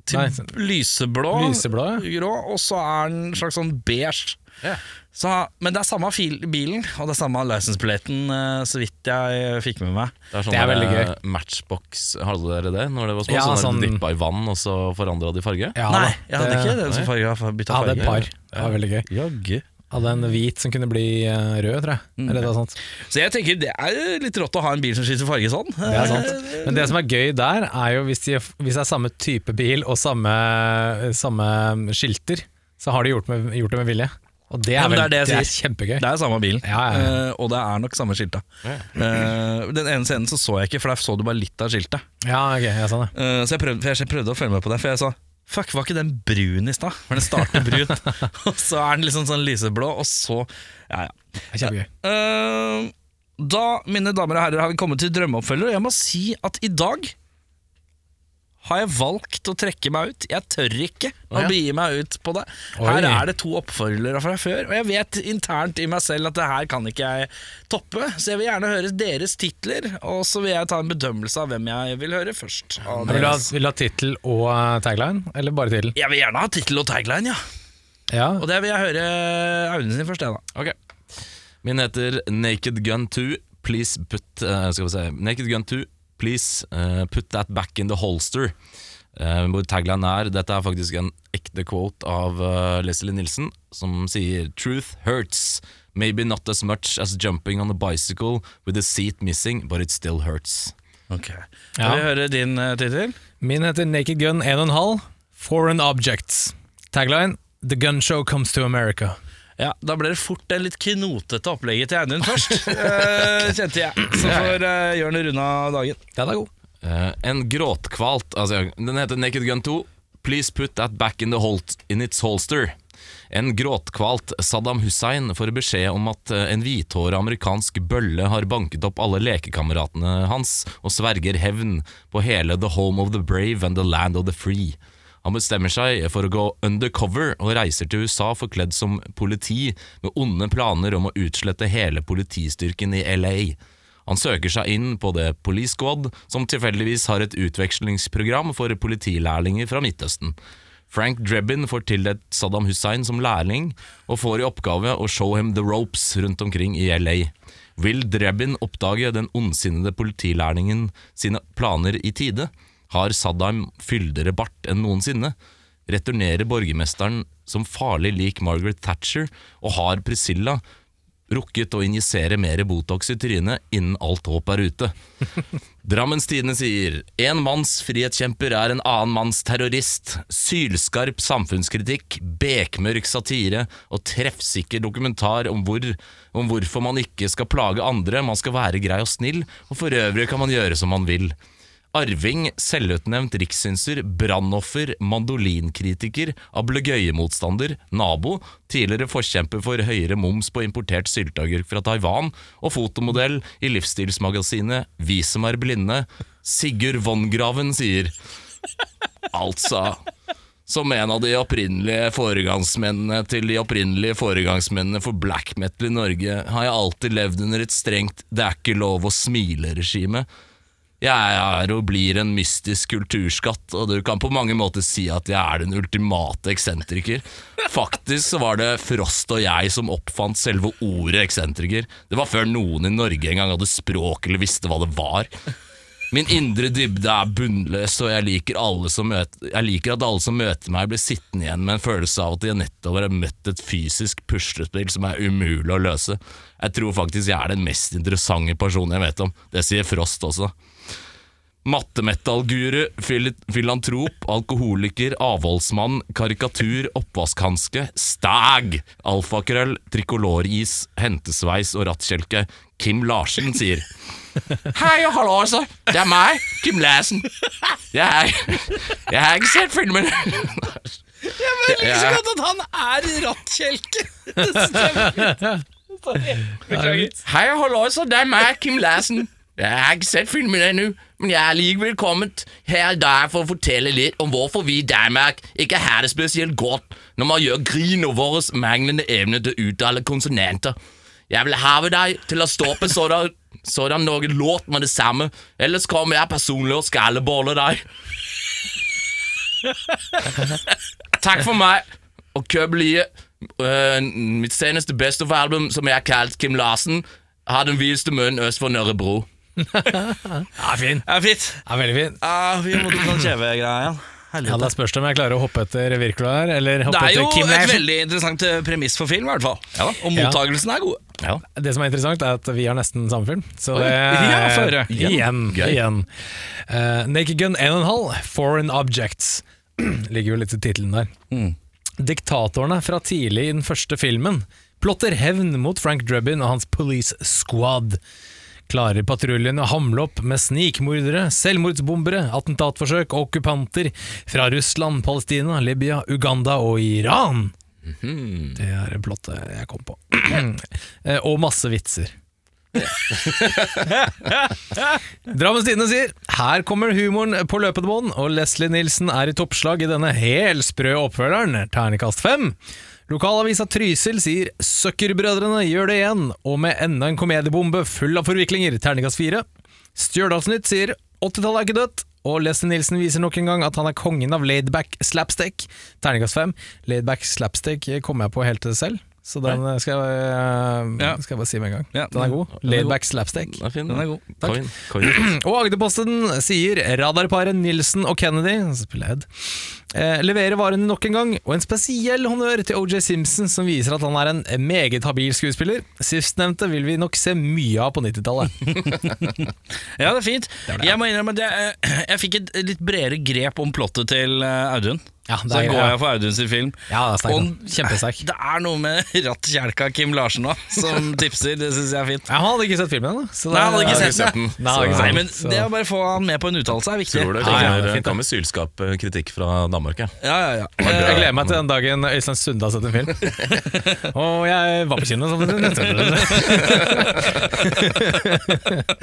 [SPEAKER 1] til
[SPEAKER 2] Nei, sånn-
[SPEAKER 1] lyseblå,
[SPEAKER 2] Lyseblå,
[SPEAKER 1] grå, og så er den en slags sånn beige.
[SPEAKER 4] Ja.
[SPEAKER 1] Så, men det er samme fil, bilen, og det er samme licenseplaten, eh, så vidt jeg eh, fikk med meg.
[SPEAKER 4] Det er, sånn
[SPEAKER 2] Det er
[SPEAKER 4] der,
[SPEAKER 2] veldig gøy.
[SPEAKER 4] eh, Matchbox, hadde dere det når det var små?
[SPEAKER 2] Ja,
[SPEAKER 4] sånn der
[SPEAKER 2] sånn-
[SPEAKER 4] du dyppa i vann, og så forandra de farge?
[SPEAKER 2] Ja,
[SPEAKER 1] Nei,
[SPEAKER 2] da.
[SPEAKER 1] jeg hadde ikke den som
[SPEAKER 4] nei.
[SPEAKER 1] farga, for bytta
[SPEAKER 2] Jeg hadde et
[SPEAKER 1] farge.
[SPEAKER 2] par. Det var veldig gøy.
[SPEAKER 1] Jaggu.
[SPEAKER 2] Hadde en hvit som kunne bli eh, rød, tror jeg.
[SPEAKER 1] Mm.
[SPEAKER 2] Eller noe sånt.
[SPEAKER 1] Så jeg tenker det er litt rått å ha en bil som skifter farge sånn.
[SPEAKER 2] Det er sant. Men det som er gøy der, er jo hvis, de, hvis det er samme type bil og samme, samme skilter, så har de gjort, med, gjort det med vilje. Og det
[SPEAKER 1] Ja,
[SPEAKER 2] er,
[SPEAKER 1] men
[SPEAKER 2] vel,
[SPEAKER 1] det er det jeg
[SPEAKER 2] det er
[SPEAKER 1] sier.
[SPEAKER 2] kjempegøy.
[SPEAKER 1] Det er samme bilen,
[SPEAKER 2] Ja, ja, ja.
[SPEAKER 1] Eh, og det er nok samme skiltet. Eh, den ene scenen så, så jeg ikke, for der så du bare litt av skiltet.
[SPEAKER 2] Ja, ok, jeg sa det.
[SPEAKER 1] Eh, så jeg prøvde, for jeg prøvde å følge med på det, for jeg sa Fuck, var ikke den brun i stad? For den starter brun, og så er den liksom sånn lyseblå, og så Ja, ja.
[SPEAKER 2] Det er kjempegøy.
[SPEAKER 1] Eh, da, mine damer og herrer, har vi kommet til drømmeoppfølger, og jeg må si at i dag har jeg valgt å trekke meg ut. Jeg tør ikke å
[SPEAKER 4] ja.
[SPEAKER 1] begi meg ut på det.
[SPEAKER 2] Oi.
[SPEAKER 1] Her er det to oppfølgere fra før, og jeg vet internt i meg selv at det her kan ikke jeg toppe, så jeg vil gjerne høre deres titler, og så vil jeg ta en bedømmelse av hvem jeg vil høre først. av
[SPEAKER 2] Vil du ha,
[SPEAKER 1] deres.
[SPEAKER 2] vil du ha tittel og eh, tagline, eller bare tittel?
[SPEAKER 1] Jeg vil gjerne ha tittel og tagline, ja.
[SPEAKER 2] Ja.
[SPEAKER 1] Og det vil jeg høre Aune sin først, jeg, da.
[SPEAKER 4] Ok Min heter Naked Gun 2 Please put eh, Skal vi se Naked Gun 2 Please eh, put that back in the holster Eh, Hvor tagline er Dette er faktisk en ekte quote av eh, Leslie Nielsen Som sier Truth hurts Maybe not as much as jumping on a bicycle With a seat missing But it still hurts
[SPEAKER 1] Jeg
[SPEAKER 2] Ja.
[SPEAKER 1] vil høre din eh, tittel.
[SPEAKER 2] Min heter Naked Gun 1,5 Foreign Objects. Tagline The Gun Show Comes to America.
[SPEAKER 1] Ja, Da ble det fort det litt knotete opplegget til Audun først, eh, kjente jeg. Så får uh, Jørn runde av dagen.
[SPEAKER 2] Den er god.
[SPEAKER 4] Eh, En gråtkvalt altså, Den heter Naked Gun 2 Please put that back in, the holt, in its holster En gråtkvalt Saddam Hussein får beskjed om at eh, en hvithåret amerikansk bølle har banket opp alle lekekameratene hans og sverger hevn på hele the home of the brave and the land of the free. Han bestemmer seg for å gå undercover og reiser til USA forkledd som politi med onde planer om å utslette hele politistyrken i LA. Han søker seg inn på The Police Squad, som tilfeldigvis har et utvekslingsprogram for politilærlinger fra Midtøsten. Frank Drebin får tildelt Saddam Hussein som lærling, og får i oppgave å show him the ropes rundt omkring i LA. Vil Drebin oppdage den ondsinnede politilærlingen sine planer i tide? Har Saddam fyldigere bart enn noensinne? Returnerer borgermesteren som farlig lik Margaret Thatcher, og har Priscilla rukket å injisere mer Botox i trynet innen alt håp er ute? Drammens Tidende sier En manns frihetskjemper er en annen manns terrorist. Sylskarp samfunnskritikk, bekmørk satire og treffsikker dokumentar om, hvor, om hvorfor man ikke skal plage andre, man skal være grei og snill, og for øvrig kan man gjøre som man vil. Arving, selvutnevnt rikssynser, brannoffer, mandolinkritiker, ablegøyemotstander, nabo, tidligere forkjemper for høyere moms på importert sylteagurk fra Taiwan, og fotomodell i livsstilsmagasinet Vi som er blinde, Sigurd Vongraven sier Altså som en av de opprinnelige foregangsmennene til de opprinnelige foregangsmennene for black metal i Norge, har jeg alltid levd under et strengt 'det er ikke lov å smile'-regime. Jeg er og blir en mystisk kulturskatt, og du kan på mange måter si at jeg er den ultimate eksentriker. Faktisk så var det Frost og jeg som oppfant selve ordet eksentriker. Det var før noen i Norge engang hadde språk eller visste hva det var. Min indre dybde er bunnløs, og jeg liker, alle som møter, jeg liker at alle som møter meg, blir sittende igjen med en følelse av at jeg nettopp har møtt et fysisk puslespill som er umulig å løse. Jeg tror faktisk jeg er den mest interessante personen jeg vet om. Det sier Frost også. Mattemetallguru, fil filantrop, alkoholiker, avholdsmann, karikatur, oppvaskhanske, stag, alfakrøll, trikoloris, hentesveis og rattkjelke. Kim Larsen sier Hei og hallo, altså. Det er meg, Kim Larsen. Jeg, er- jeg har ikke sett filmen.
[SPEAKER 1] Jeg mener
[SPEAKER 4] Ja.
[SPEAKER 1] ikke så godt at han er rattkjelke! Det stemmer ikke. Sorry. Beklager.
[SPEAKER 4] Hei og hallo, altså. Det er meg, Kim Larsen. Jeg har ikke sett filmen ennå, men jeg er likevel kommet her i dag for å fortelle litt om hvorfor vi i Danmark ikke har det spesielt godt når man gjør grin over vår manglende evne til å uttale konsonanter. Jeg vil have deg til å stoppe sådan, sådan noe lort med det samme, ellers kommer jeg personlig og skalleboller deg. Takk for meg, og kjøp lige øh, mitt seneste bestefaralbum, som jeg har kalt Kim Larsen, har den videste munnen øst for Nørrebro.
[SPEAKER 2] Ja, fin.
[SPEAKER 1] Ja, fint.
[SPEAKER 2] Ja, veldig fin.
[SPEAKER 1] Ja, vi må ta den kjevegreia igjen.
[SPEAKER 2] Ja, Da spørs det om jeg klarer å hoppe etter Wirkola her, eller
[SPEAKER 1] Det
[SPEAKER 2] hoppe
[SPEAKER 1] er jo
[SPEAKER 2] etter Kim
[SPEAKER 1] et
[SPEAKER 2] Larsen.
[SPEAKER 1] veldig interessant eh, premiss for film, i hvert fall. Og
[SPEAKER 2] Ja.
[SPEAKER 1] mottagelsen er god.
[SPEAKER 4] Ja.
[SPEAKER 2] Det som er interessant, er at vi har nesten samme film. Så det
[SPEAKER 1] ja, få
[SPEAKER 2] er
[SPEAKER 1] høre.
[SPEAKER 2] igjen.
[SPEAKER 4] Gøy.
[SPEAKER 2] igjen. Eh, Naked Gun 1,5, Foreign Objects, ligger jo litt i tittelen der.
[SPEAKER 1] Mm.
[SPEAKER 2] Diktatorene fra tidlig i den første filmen plotter hevn mot Frank Drebin og hans police squad. Klarer patruljen å hamle opp med snikmordere, selvmordsbombere, attentatforsøk og okkupanter fra Russland, Palestina, Libya, Uganda og Iran?
[SPEAKER 1] Mhm.
[SPEAKER 2] Det er plottet jeg kom på. Eh, Og masse vitser. Drammens Tidende sier Her kommer humoren på løpende bånd, og Leslie Nilsen er i toppslag i denne helsprø oppfølgeren, ternekast fem. Lokalavisa Trysil sier Søkkerbrødrene gjør det igjen, og med enda en komediebombe full av forviklinger, ternekast fire. Stjørdalsnytt sier 80-tallet er ikke dødt, og Leslie Nilsen viser nok en gang at han er kongen av laidback slapstick, ternekast fem. Laidback slapstick kom jeg på helt selv. Så den eh, skal jeg, eh,
[SPEAKER 1] Ja.
[SPEAKER 2] skal jeg bare si med en gang.
[SPEAKER 1] Ja,
[SPEAKER 2] den er god.
[SPEAKER 1] den er god.
[SPEAKER 2] Laidback slapstick.
[SPEAKER 4] Den er fin.
[SPEAKER 1] Den er god.
[SPEAKER 2] Takk.
[SPEAKER 4] Coin, coin.
[SPEAKER 2] Og Agderposten sier radarparet Nilsen og Kennedy spiller Ed, eh, leverer varene nok en gang, og en spesiell honnør til OJ Simpson, som viser at han er en meget habil skuespiller. Sistnevnte vil vi nok se mye av på 90-tallet.
[SPEAKER 1] Ja, det er fint. Jeg må innrømme at jeg, eh, jeg fikk et litt bredere grep om plottet til eh, Audun.
[SPEAKER 2] Ja, det
[SPEAKER 1] Så da
[SPEAKER 2] er-
[SPEAKER 1] går jeg for Audun sin film.
[SPEAKER 2] Ja, det er sterk,
[SPEAKER 1] Og-
[SPEAKER 2] da. Kjempesterk.
[SPEAKER 1] Det er noe med rattkjelka Kim Larsen nå, som tipser. Det syns jeg er fint.
[SPEAKER 2] Ja, han hadde ikke sett filmen ennå. så det-
[SPEAKER 1] Nei, han hadde ikke sett
[SPEAKER 4] sett
[SPEAKER 1] den.
[SPEAKER 4] den.
[SPEAKER 2] Nei, han hadde ikke
[SPEAKER 1] Nei,
[SPEAKER 2] sett
[SPEAKER 1] men
[SPEAKER 2] den, så-
[SPEAKER 1] det å bare få han med på en uttalelse er viktig.
[SPEAKER 4] Tror det
[SPEAKER 2] Ja, ja, det er
[SPEAKER 4] kommer,
[SPEAKER 2] fint, det.
[SPEAKER 4] kommer sylskap eh, kritikk fra Danmark, ja.
[SPEAKER 1] Ja, ja, ja.
[SPEAKER 2] Jeg gleder meg til den dagen Øystein Sunde har sett en film. Og jeg var på kino sammen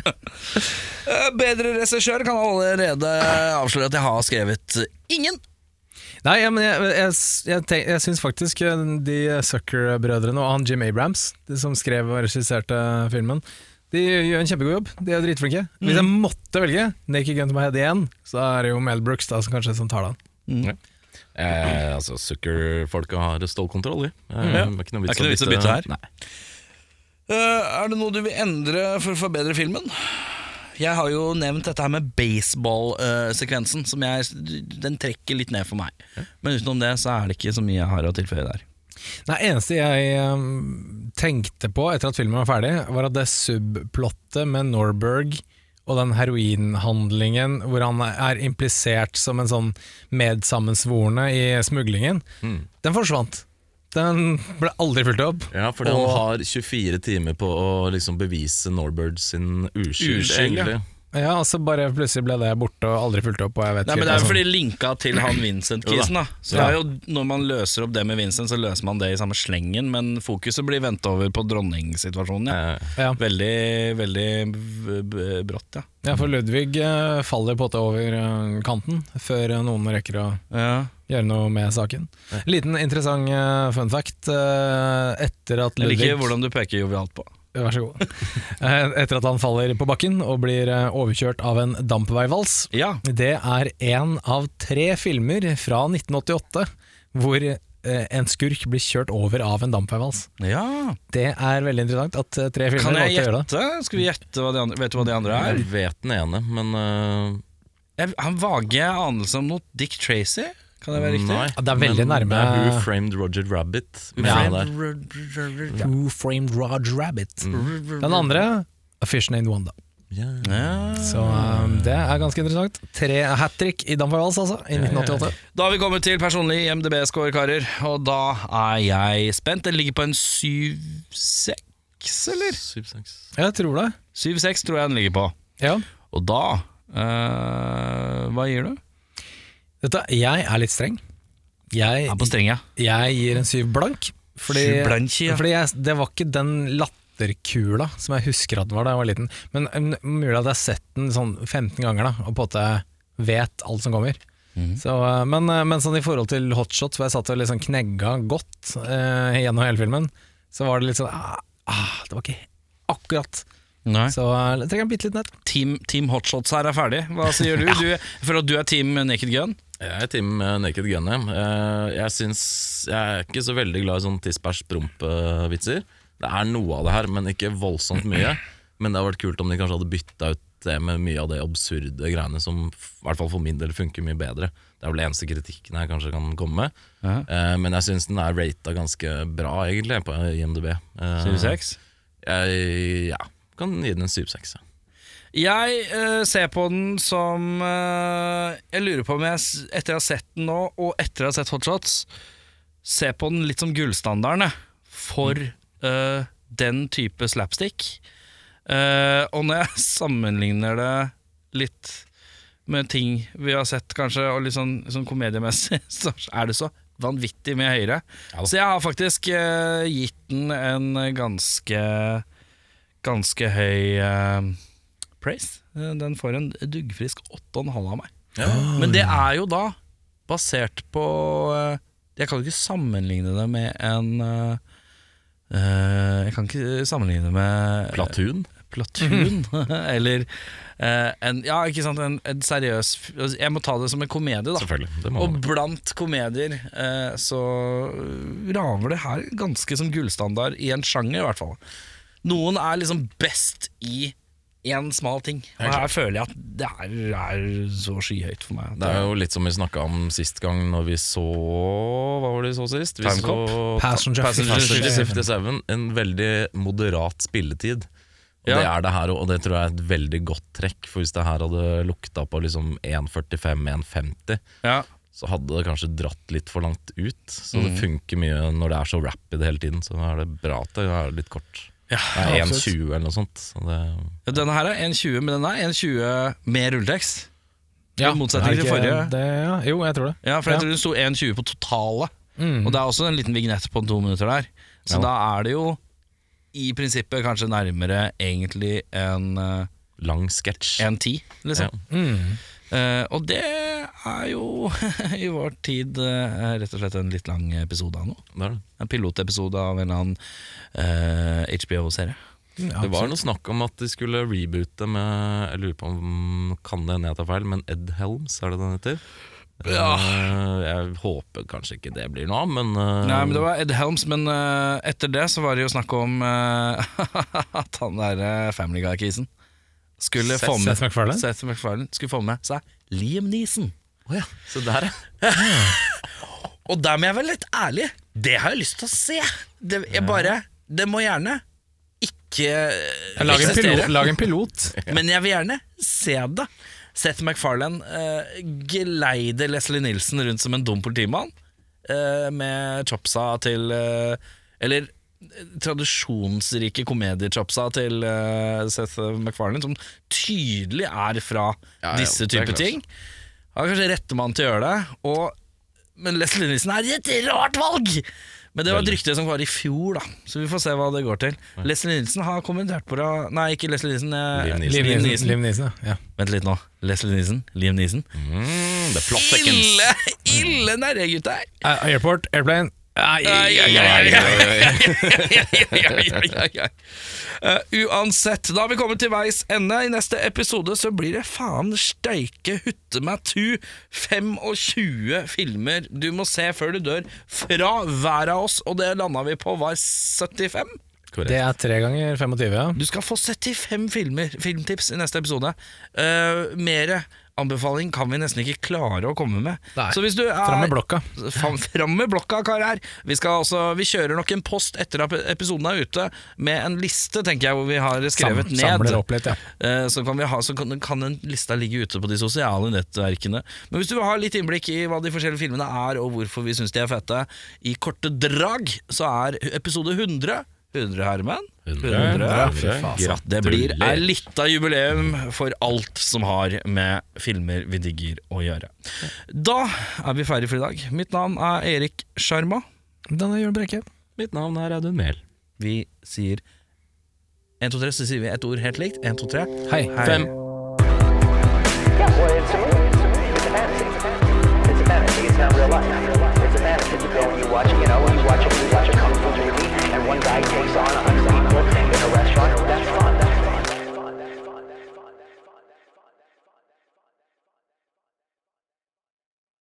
[SPEAKER 1] Eh, Bedre regissør kan allerede avsløre at jeg har skrevet ingen.
[SPEAKER 2] Nei, ja, men jeg, jeg, jeg, tenk- jeg syns faktisk eh, de Sucker-brødrene og han Jim Abrams, de som skrev og regisserte filmen, de gjør en kjempegod jobb. De er dritflinke. Hvis jeg måtte velge Naked Gun to my head igjen, så er det jo Mel Brooks da, som kanskje sånn som tar den.
[SPEAKER 4] Eh, altså, Zucker-folka har stålkontroll, de. Eh, Det er ikke noe
[SPEAKER 1] Mm, Det er
[SPEAKER 4] vits,
[SPEAKER 1] ikke noe vits å bytte her.
[SPEAKER 4] Nei.
[SPEAKER 1] Eh, Er det noe du vil endre for å forbedre filmen? Jeg har jo nevnt dette her med baseball-sekvensen, som jeg, den trekker litt ned for meg. Men utenom det så er det ikke så mye jeg har å tilføye der.
[SPEAKER 2] Nei, eneste jeg eh, tenkte på etter at filmen var ferdig, var at det subplottet med Norberg og den heroinhandlingen hvor han er implisert som en sånn medsammensvorne i smuglingen,
[SPEAKER 1] Hmm.
[SPEAKER 2] den forsvant. Den ble aldri fulgt opp.
[SPEAKER 4] Ja, fordi han har 24 timer på å liksom bevise Norbird sin uskyld,
[SPEAKER 1] Uskyld, ja.
[SPEAKER 4] egentlig.
[SPEAKER 2] Ja, altså bare plutselig ble det borte og aldri fulgt opp, og jeg vet
[SPEAKER 1] Nei,
[SPEAKER 2] ikke
[SPEAKER 1] men Det er
[SPEAKER 2] altså.
[SPEAKER 1] jo fordi linka til han Vincent-kisen. da Så det er jo Når man løser opp det med Vincent, så løser man det i samme slengen, men fokuset blir vendt over på dronningsituasjonen. Ja.
[SPEAKER 4] Eh,
[SPEAKER 2] ja.
[SPEAKER 1] Veldig, veldig b- b- brått, ja.
[SPEAKER 2] ja, for Ludvig eh, faller på det over eh, kanten før eh, noen rekker å
[SPEAKER 1] ja.
[SPEAKER 2] gjøre noe med saken. Liten interessant eh, fun fact. eh, etter at
[SPEAKER 1] Jeg
[SPEAKER 2] Ludvig
[SPEAKER 1] liker hvordan du peker jovialt på.
[SPEAKER 2] Vær så god. Eh, etter at han faller på bakken og blir eh, overkjørt av en dampveivals,
[SPEAKER 1] Ja,
[SPEAKER 2] Det er en av tre filmer fra 1988 hvor eh, en skurk blir kjørt over av en dampveivals.
[SPEAKER 1] ja.
[SPEAKER 2] Det er veldig interessant at eh, tre
[SPEAKER 1] Kan
[SPEAKER 2] filmer
[SPEAKER 1] jeg
[SPEAKER 2] valgte å gjøre det.
[SPEAKER 1] gjette? Skal vi gjette hva de andre, Vet du hva de andre er?
[SPEAKER 4] Jeg vet den ene, men eh,
[SPEAKER 1] Jeg har en vage anelse om noe Dick Tracy. Kan det være riktig?
[SPEAKER 4] Nei,
[SPEAKER 2] Ja, det er veldig
[SPEAKER 4] men
[SPEAKER 2] nærme-
[SPEAKER 4] Det er Who Framed Roger Rabbit. Men
[SPEAKER 2] Ja.
[SPEAKER 4] det er der.
[SPEAKER 1] Ja.
[SPEAKER 2] Who framed Roger Rabbit? Mm. Den andre A Fish Named Wanda.
[SPEAKER 4] Ja.
[SPEAKER 2] Så eh, det er ganske interessant. Tre hat trick i dampveivals, altså, i 1988.
[SPEAKER 1] Da har vi kommet til personlig IMDb-score, karer. Og da er jeg spent. Den ligger på en 7-6, eller?
[SPEAKER 4] Syv, seks.
[SPEAKER 2] Jeg tror det.
[SPEAKER 1] 7-6 tror jeg den ligger på.
[SPEAKER 2] Ja.
[SPEAKER 1] Og da eh, Hva gir du?
[SPEAKER 2] Dette, jeg er litt streng. Jeg,
[SPEAKER 1] Jeg er på streng, ja.
[SPEAKER 2] jeg gir en syv blank. Fordi,
[SPEAKER 1] Syv blank, ja.
[SPEAKER 2] fordi jeg, det var ikke den latterkula som jeg husker at den var da jeg var liten. Men um, mulig at jeg har sett den sånn 15 ganger da, og på en måte vet alt som kommer.
[SPEAKER 1] Mhm.
[SPEAKER 2] Så, uh, men, uh, men sånn i forhold til hotshot, hvor jeg satt og liksom knegga godt eh, gjennom hele filmen, så var det litt sånn ah, ah, Det var ikke akkurat.
[SPEAKER 1] Nei.
[SPEAKER 2] Så uh, jeg trenger en bitte liten et.
[SPEAKER 1] Team, team Hotshots her er ferdig. Hva sier du? du jeg føler at du er Team Naked Gun.
[SPEAKER 4] Jeg er team eh, Naked Gun. Jeg, Eh, jeg, syns, jeg er ikke så veldig glad i sånn tisspers-promp-vitser. Det er noe av det her, men ikke voldsomt mye. Men det hadde vært kult om de kanskje hadde bytta ut det med mye av de absurde greiene som f- i hvert fall for min del funker mye bedre. Det er vel det eneste kritikken jeg kanskje kan komme med. Eh, men jeg syns den er rata ganske bra, egentlig, på IMDb. Eh,
[SPEAKER 1] 7-6.
[SPEAKER 4] Jeg, ja, kan gi den en 7-6. Ja.
[SPEAKER 1] Jeg eh, ser på den som eh, Jeg lurer på om jeg, s- etter jeg har sett den nå, og etter jeg har sett Hotshots, ser på den litt som gullstandarden jeg, for eh, den type slapstick. Eh, og når jeg sammenligner det litt med ting vi har sett, kanskje, og litt sånn, sånn komediemessig, så er det så vanvittig mye høyere.
[SPEAKER 4] Ja da.
[SPEAKER 1] så jeg har faktisk eh, gitt den en ganske, ganske høy eh, Praise. Eh, Den får en duggfrisk 8,5 av meg. Men det er jo da basert på eh, Jeg kan jo ikke sammenligne det med en eh, eh, Jeg kan ikke sammenligne det med
[SPEAKER 4] Platoon?
[SPEAKER 1] Platoon.
[SPEAKER 4] Mhm.
[SPEAKER 1] Eller eh, en, ja, ikke sant, en, en seriøs altså, Jeg må ta det som en komedie, da.
[SPEAKER 4] Selvfølgelig. Det må
[SPEAKER 1] Og
[SPEAKER 4] man.
[SPEAKER 1] blant komedier eh, så raver det her ganske som gullstandard i en sjanger, i hvert fall. Noen er liksom best i én smal ting. Og her føler jeg at det her er så skyhøyt for meg. at
[SPEAKER 4] Det er jo litt som vi snakka om sist gang når vi så Hva var det vi så sist? Vi
[SPEAKER 1] Time
[SPEAKER 4] så
[SPEAKER 2] Passenger
[SPEAKER 1] Passenger
[SPEAKER 4] Passenger
[SPEAKER 2] 57.
[SPEAKER 4] 57. En veldig moderat spilletid. Og
[SPEAKER 1] Ja.
[SPEAKER 4] Det er det her, og det tror jeg er et veldig godt trekk. For hvis det her hadde lukta på liksom 1,45-1,50,
[SPEAKER 1] Ja.
[SPEAKER 4] så hadde det kanskje dratt litt for langt ut. Så
[SPEAKER 1] Mm.
[SPEAKER 4] det funker mye når det er så rapid hele tiden. Så er det bra at det er litt kort. Det er 1,20 eller noe sånt. Så det,
[SPEAKER 1] Ja, Denne her er 1,20, men den er 1,20 med rulletekst. I motsetning
[SPEAKER 2] Er det
[SPEAKER 1] til
[SPEAKER 2] ikke
[SPEAKER 1] forrige.
[SPEAKER 2] Det, ja. Jo, jeg tror det. Mm.
[SPEAKER 1] Ja, for jeg tror det sto 1,20 på totale. Og det er også en liten vignett på to minutter der. Så
[SPEAKER 4] Mm. Ja.
[SPEAKER 1] da er det jo i prinsippet kanskje nærmere egentlig enn eh,
[SPEAKER 4] lang sketsj.
[SPEAKER 1] en ti, liksom.
[SPEAKER 4] Ja.
[SPEAKER 2] Mm.
[SPEAKER 1] Eh, og det er jo i vår tid eh, rett og slett en litt lang episode av noe.
[SPEAKER 4] Det er det.
[SPEAKER 1] En pilotepisode av en eller annen eh, HBO-serie.
[SPEAKER 2] Ja,
[SPEAKER 4] Det var noe snakk om at de skulle reboote med Jeg lurer på om kan det hende jeg tar feil, men Ed Helms, er det den heter? Ja. Jeg håper kanskje ikke det blir noe av, men eh,
[SPEAKER 1] Nei, men det var Ed Helms, men eh, etter det så var det jo snakk om eh, at han derre Family Guy-kisen skulle
[SPEAKER 4] Seth-
[SPEAKER 1] få med
[SPEAKER 2] Seth MacFarlane?
[SPEAKER 1] Seth MacFarlane skulle få med seg Liam Neeson.
[SPEAKER 4] Å ja, Se der, ja.
[SPEAKER 1] Og der må jeg være litt ærlig. Det har jeg lyst til å se. Det, jeg bare, det må gjerne ikke
[SPEAKER 2] Lag en
[SPEAKER 1] eksistere.
[SPEAKER 2] pilot. Lag en pilot.
[SPEAKER 1] Men jeg vil gjerne se det. Seth MacFarlane eh, geleider Leslie Nilsen rundt som en dum politimann eh, med chopsa til eh, Eller tradisjonsrike komediechapsa til eh, Seth MacFarlane, som tydelig er fra
[SPEAKER 4] Ja, ja,
[SPEAKER 1] disse
[SPEAKER 4] det er
[SPEAKER 1] typer
[SPEAKER 4] klart.
[SPEAKER 1] ting. Han er kanskje rette mann til å gjøre det, og, men Leslie Nielsen er et rart valg! Men det var et
[SPEAKER 4] Veldig.
[SPEAKER 1] rykte som var i fjor, da, så vi får se hva det går til. Leslie Nielsen har kommentert på det Nei, ikke Leslie Nielsen. eh,
[SPEAKER 4] Liam Neeson.
[SPEAKER 2] Liv
[SPEAKER 1] Liam
[SPEAKER 2] Nisen.
[SPEAKER 1] Neeson.
[SPEAKER 2] Liv Nisen, ja.
[SPEAKER 1] Vent litt nå. Leslie Nielsen. Liam Neeson.
[SPEAKER 4] Mm, the plot thickens.
[SPEAKER 1] Ille, ille nære gutter!
[SPEAKER 2] ja. Eh, Airport, airplane. Ai,
[SPEAKER 1] Ai, ai, ai, Eh, uansett, da har vi kommet til veis ende. I neste episode så blir det faen steike hutte meg tu. 25 filmer du må se før du dør, fra hver av oss, og det landa vi på var 75.
[SPEAKER 2] Det
[SPEAKER 4] Korrekt.
[SPEAKER 2] er tre ganger 25, ja.
[SPEAKER 1] Du skal få 75 filmer, filmtips i neste episode. Uh, Mere anbefaling kan vi nesten ikke klare å komme med.
[SPEAKER 2] Nei.
[SPEAKER 1] Så hvis du er
[SPEAKER 2] Fram med blokka.
[SPEAKER 1] Fram, fram med blokka, karer! Vi, skal altså, vi kjører nok en post etter at episoden er ute, med en liste, tenker jeg, hvor vi har
[SPEAKER 2] Sam,
[SPEAKER 1] skrevet ned.
[SPEAKER 2] samler opp litt, ja.
[SPEAKER 1] Eh, Så kan, vi ha, så kan, kan den lista ligge ute på de sosiale nettverkene. Men hvis du vil ha litt innblikk i hva de forskjellige filmene er, og hvorfor vi syns de er fete, i korte drag så er episode 100 100, Herman.
[SPEAKER 4] 100.
[SPEAKER 2] Fy faen,
[SPEAKER 1] Ja, Det blir ei lita jubileum for alt som har med filmer vi digger å gjøre. Da er vi ferdig for i dag. Mitt navn er Erik Sjarma.
[SPEAKER 2] Denne Jørn Brekke.
[SPEAKER 4] Mitt navn er Audun Mehl.
[SPEAKER 1] Vi sier 1, 2, 3, så sier vi et ord helt likt. 1, 2, 3.
[SPEAKER 2] Hei.
[SPEAKER 1] Hei.
[SPEAKER 4] Fem.
[SPEAKER 3] Guess what it's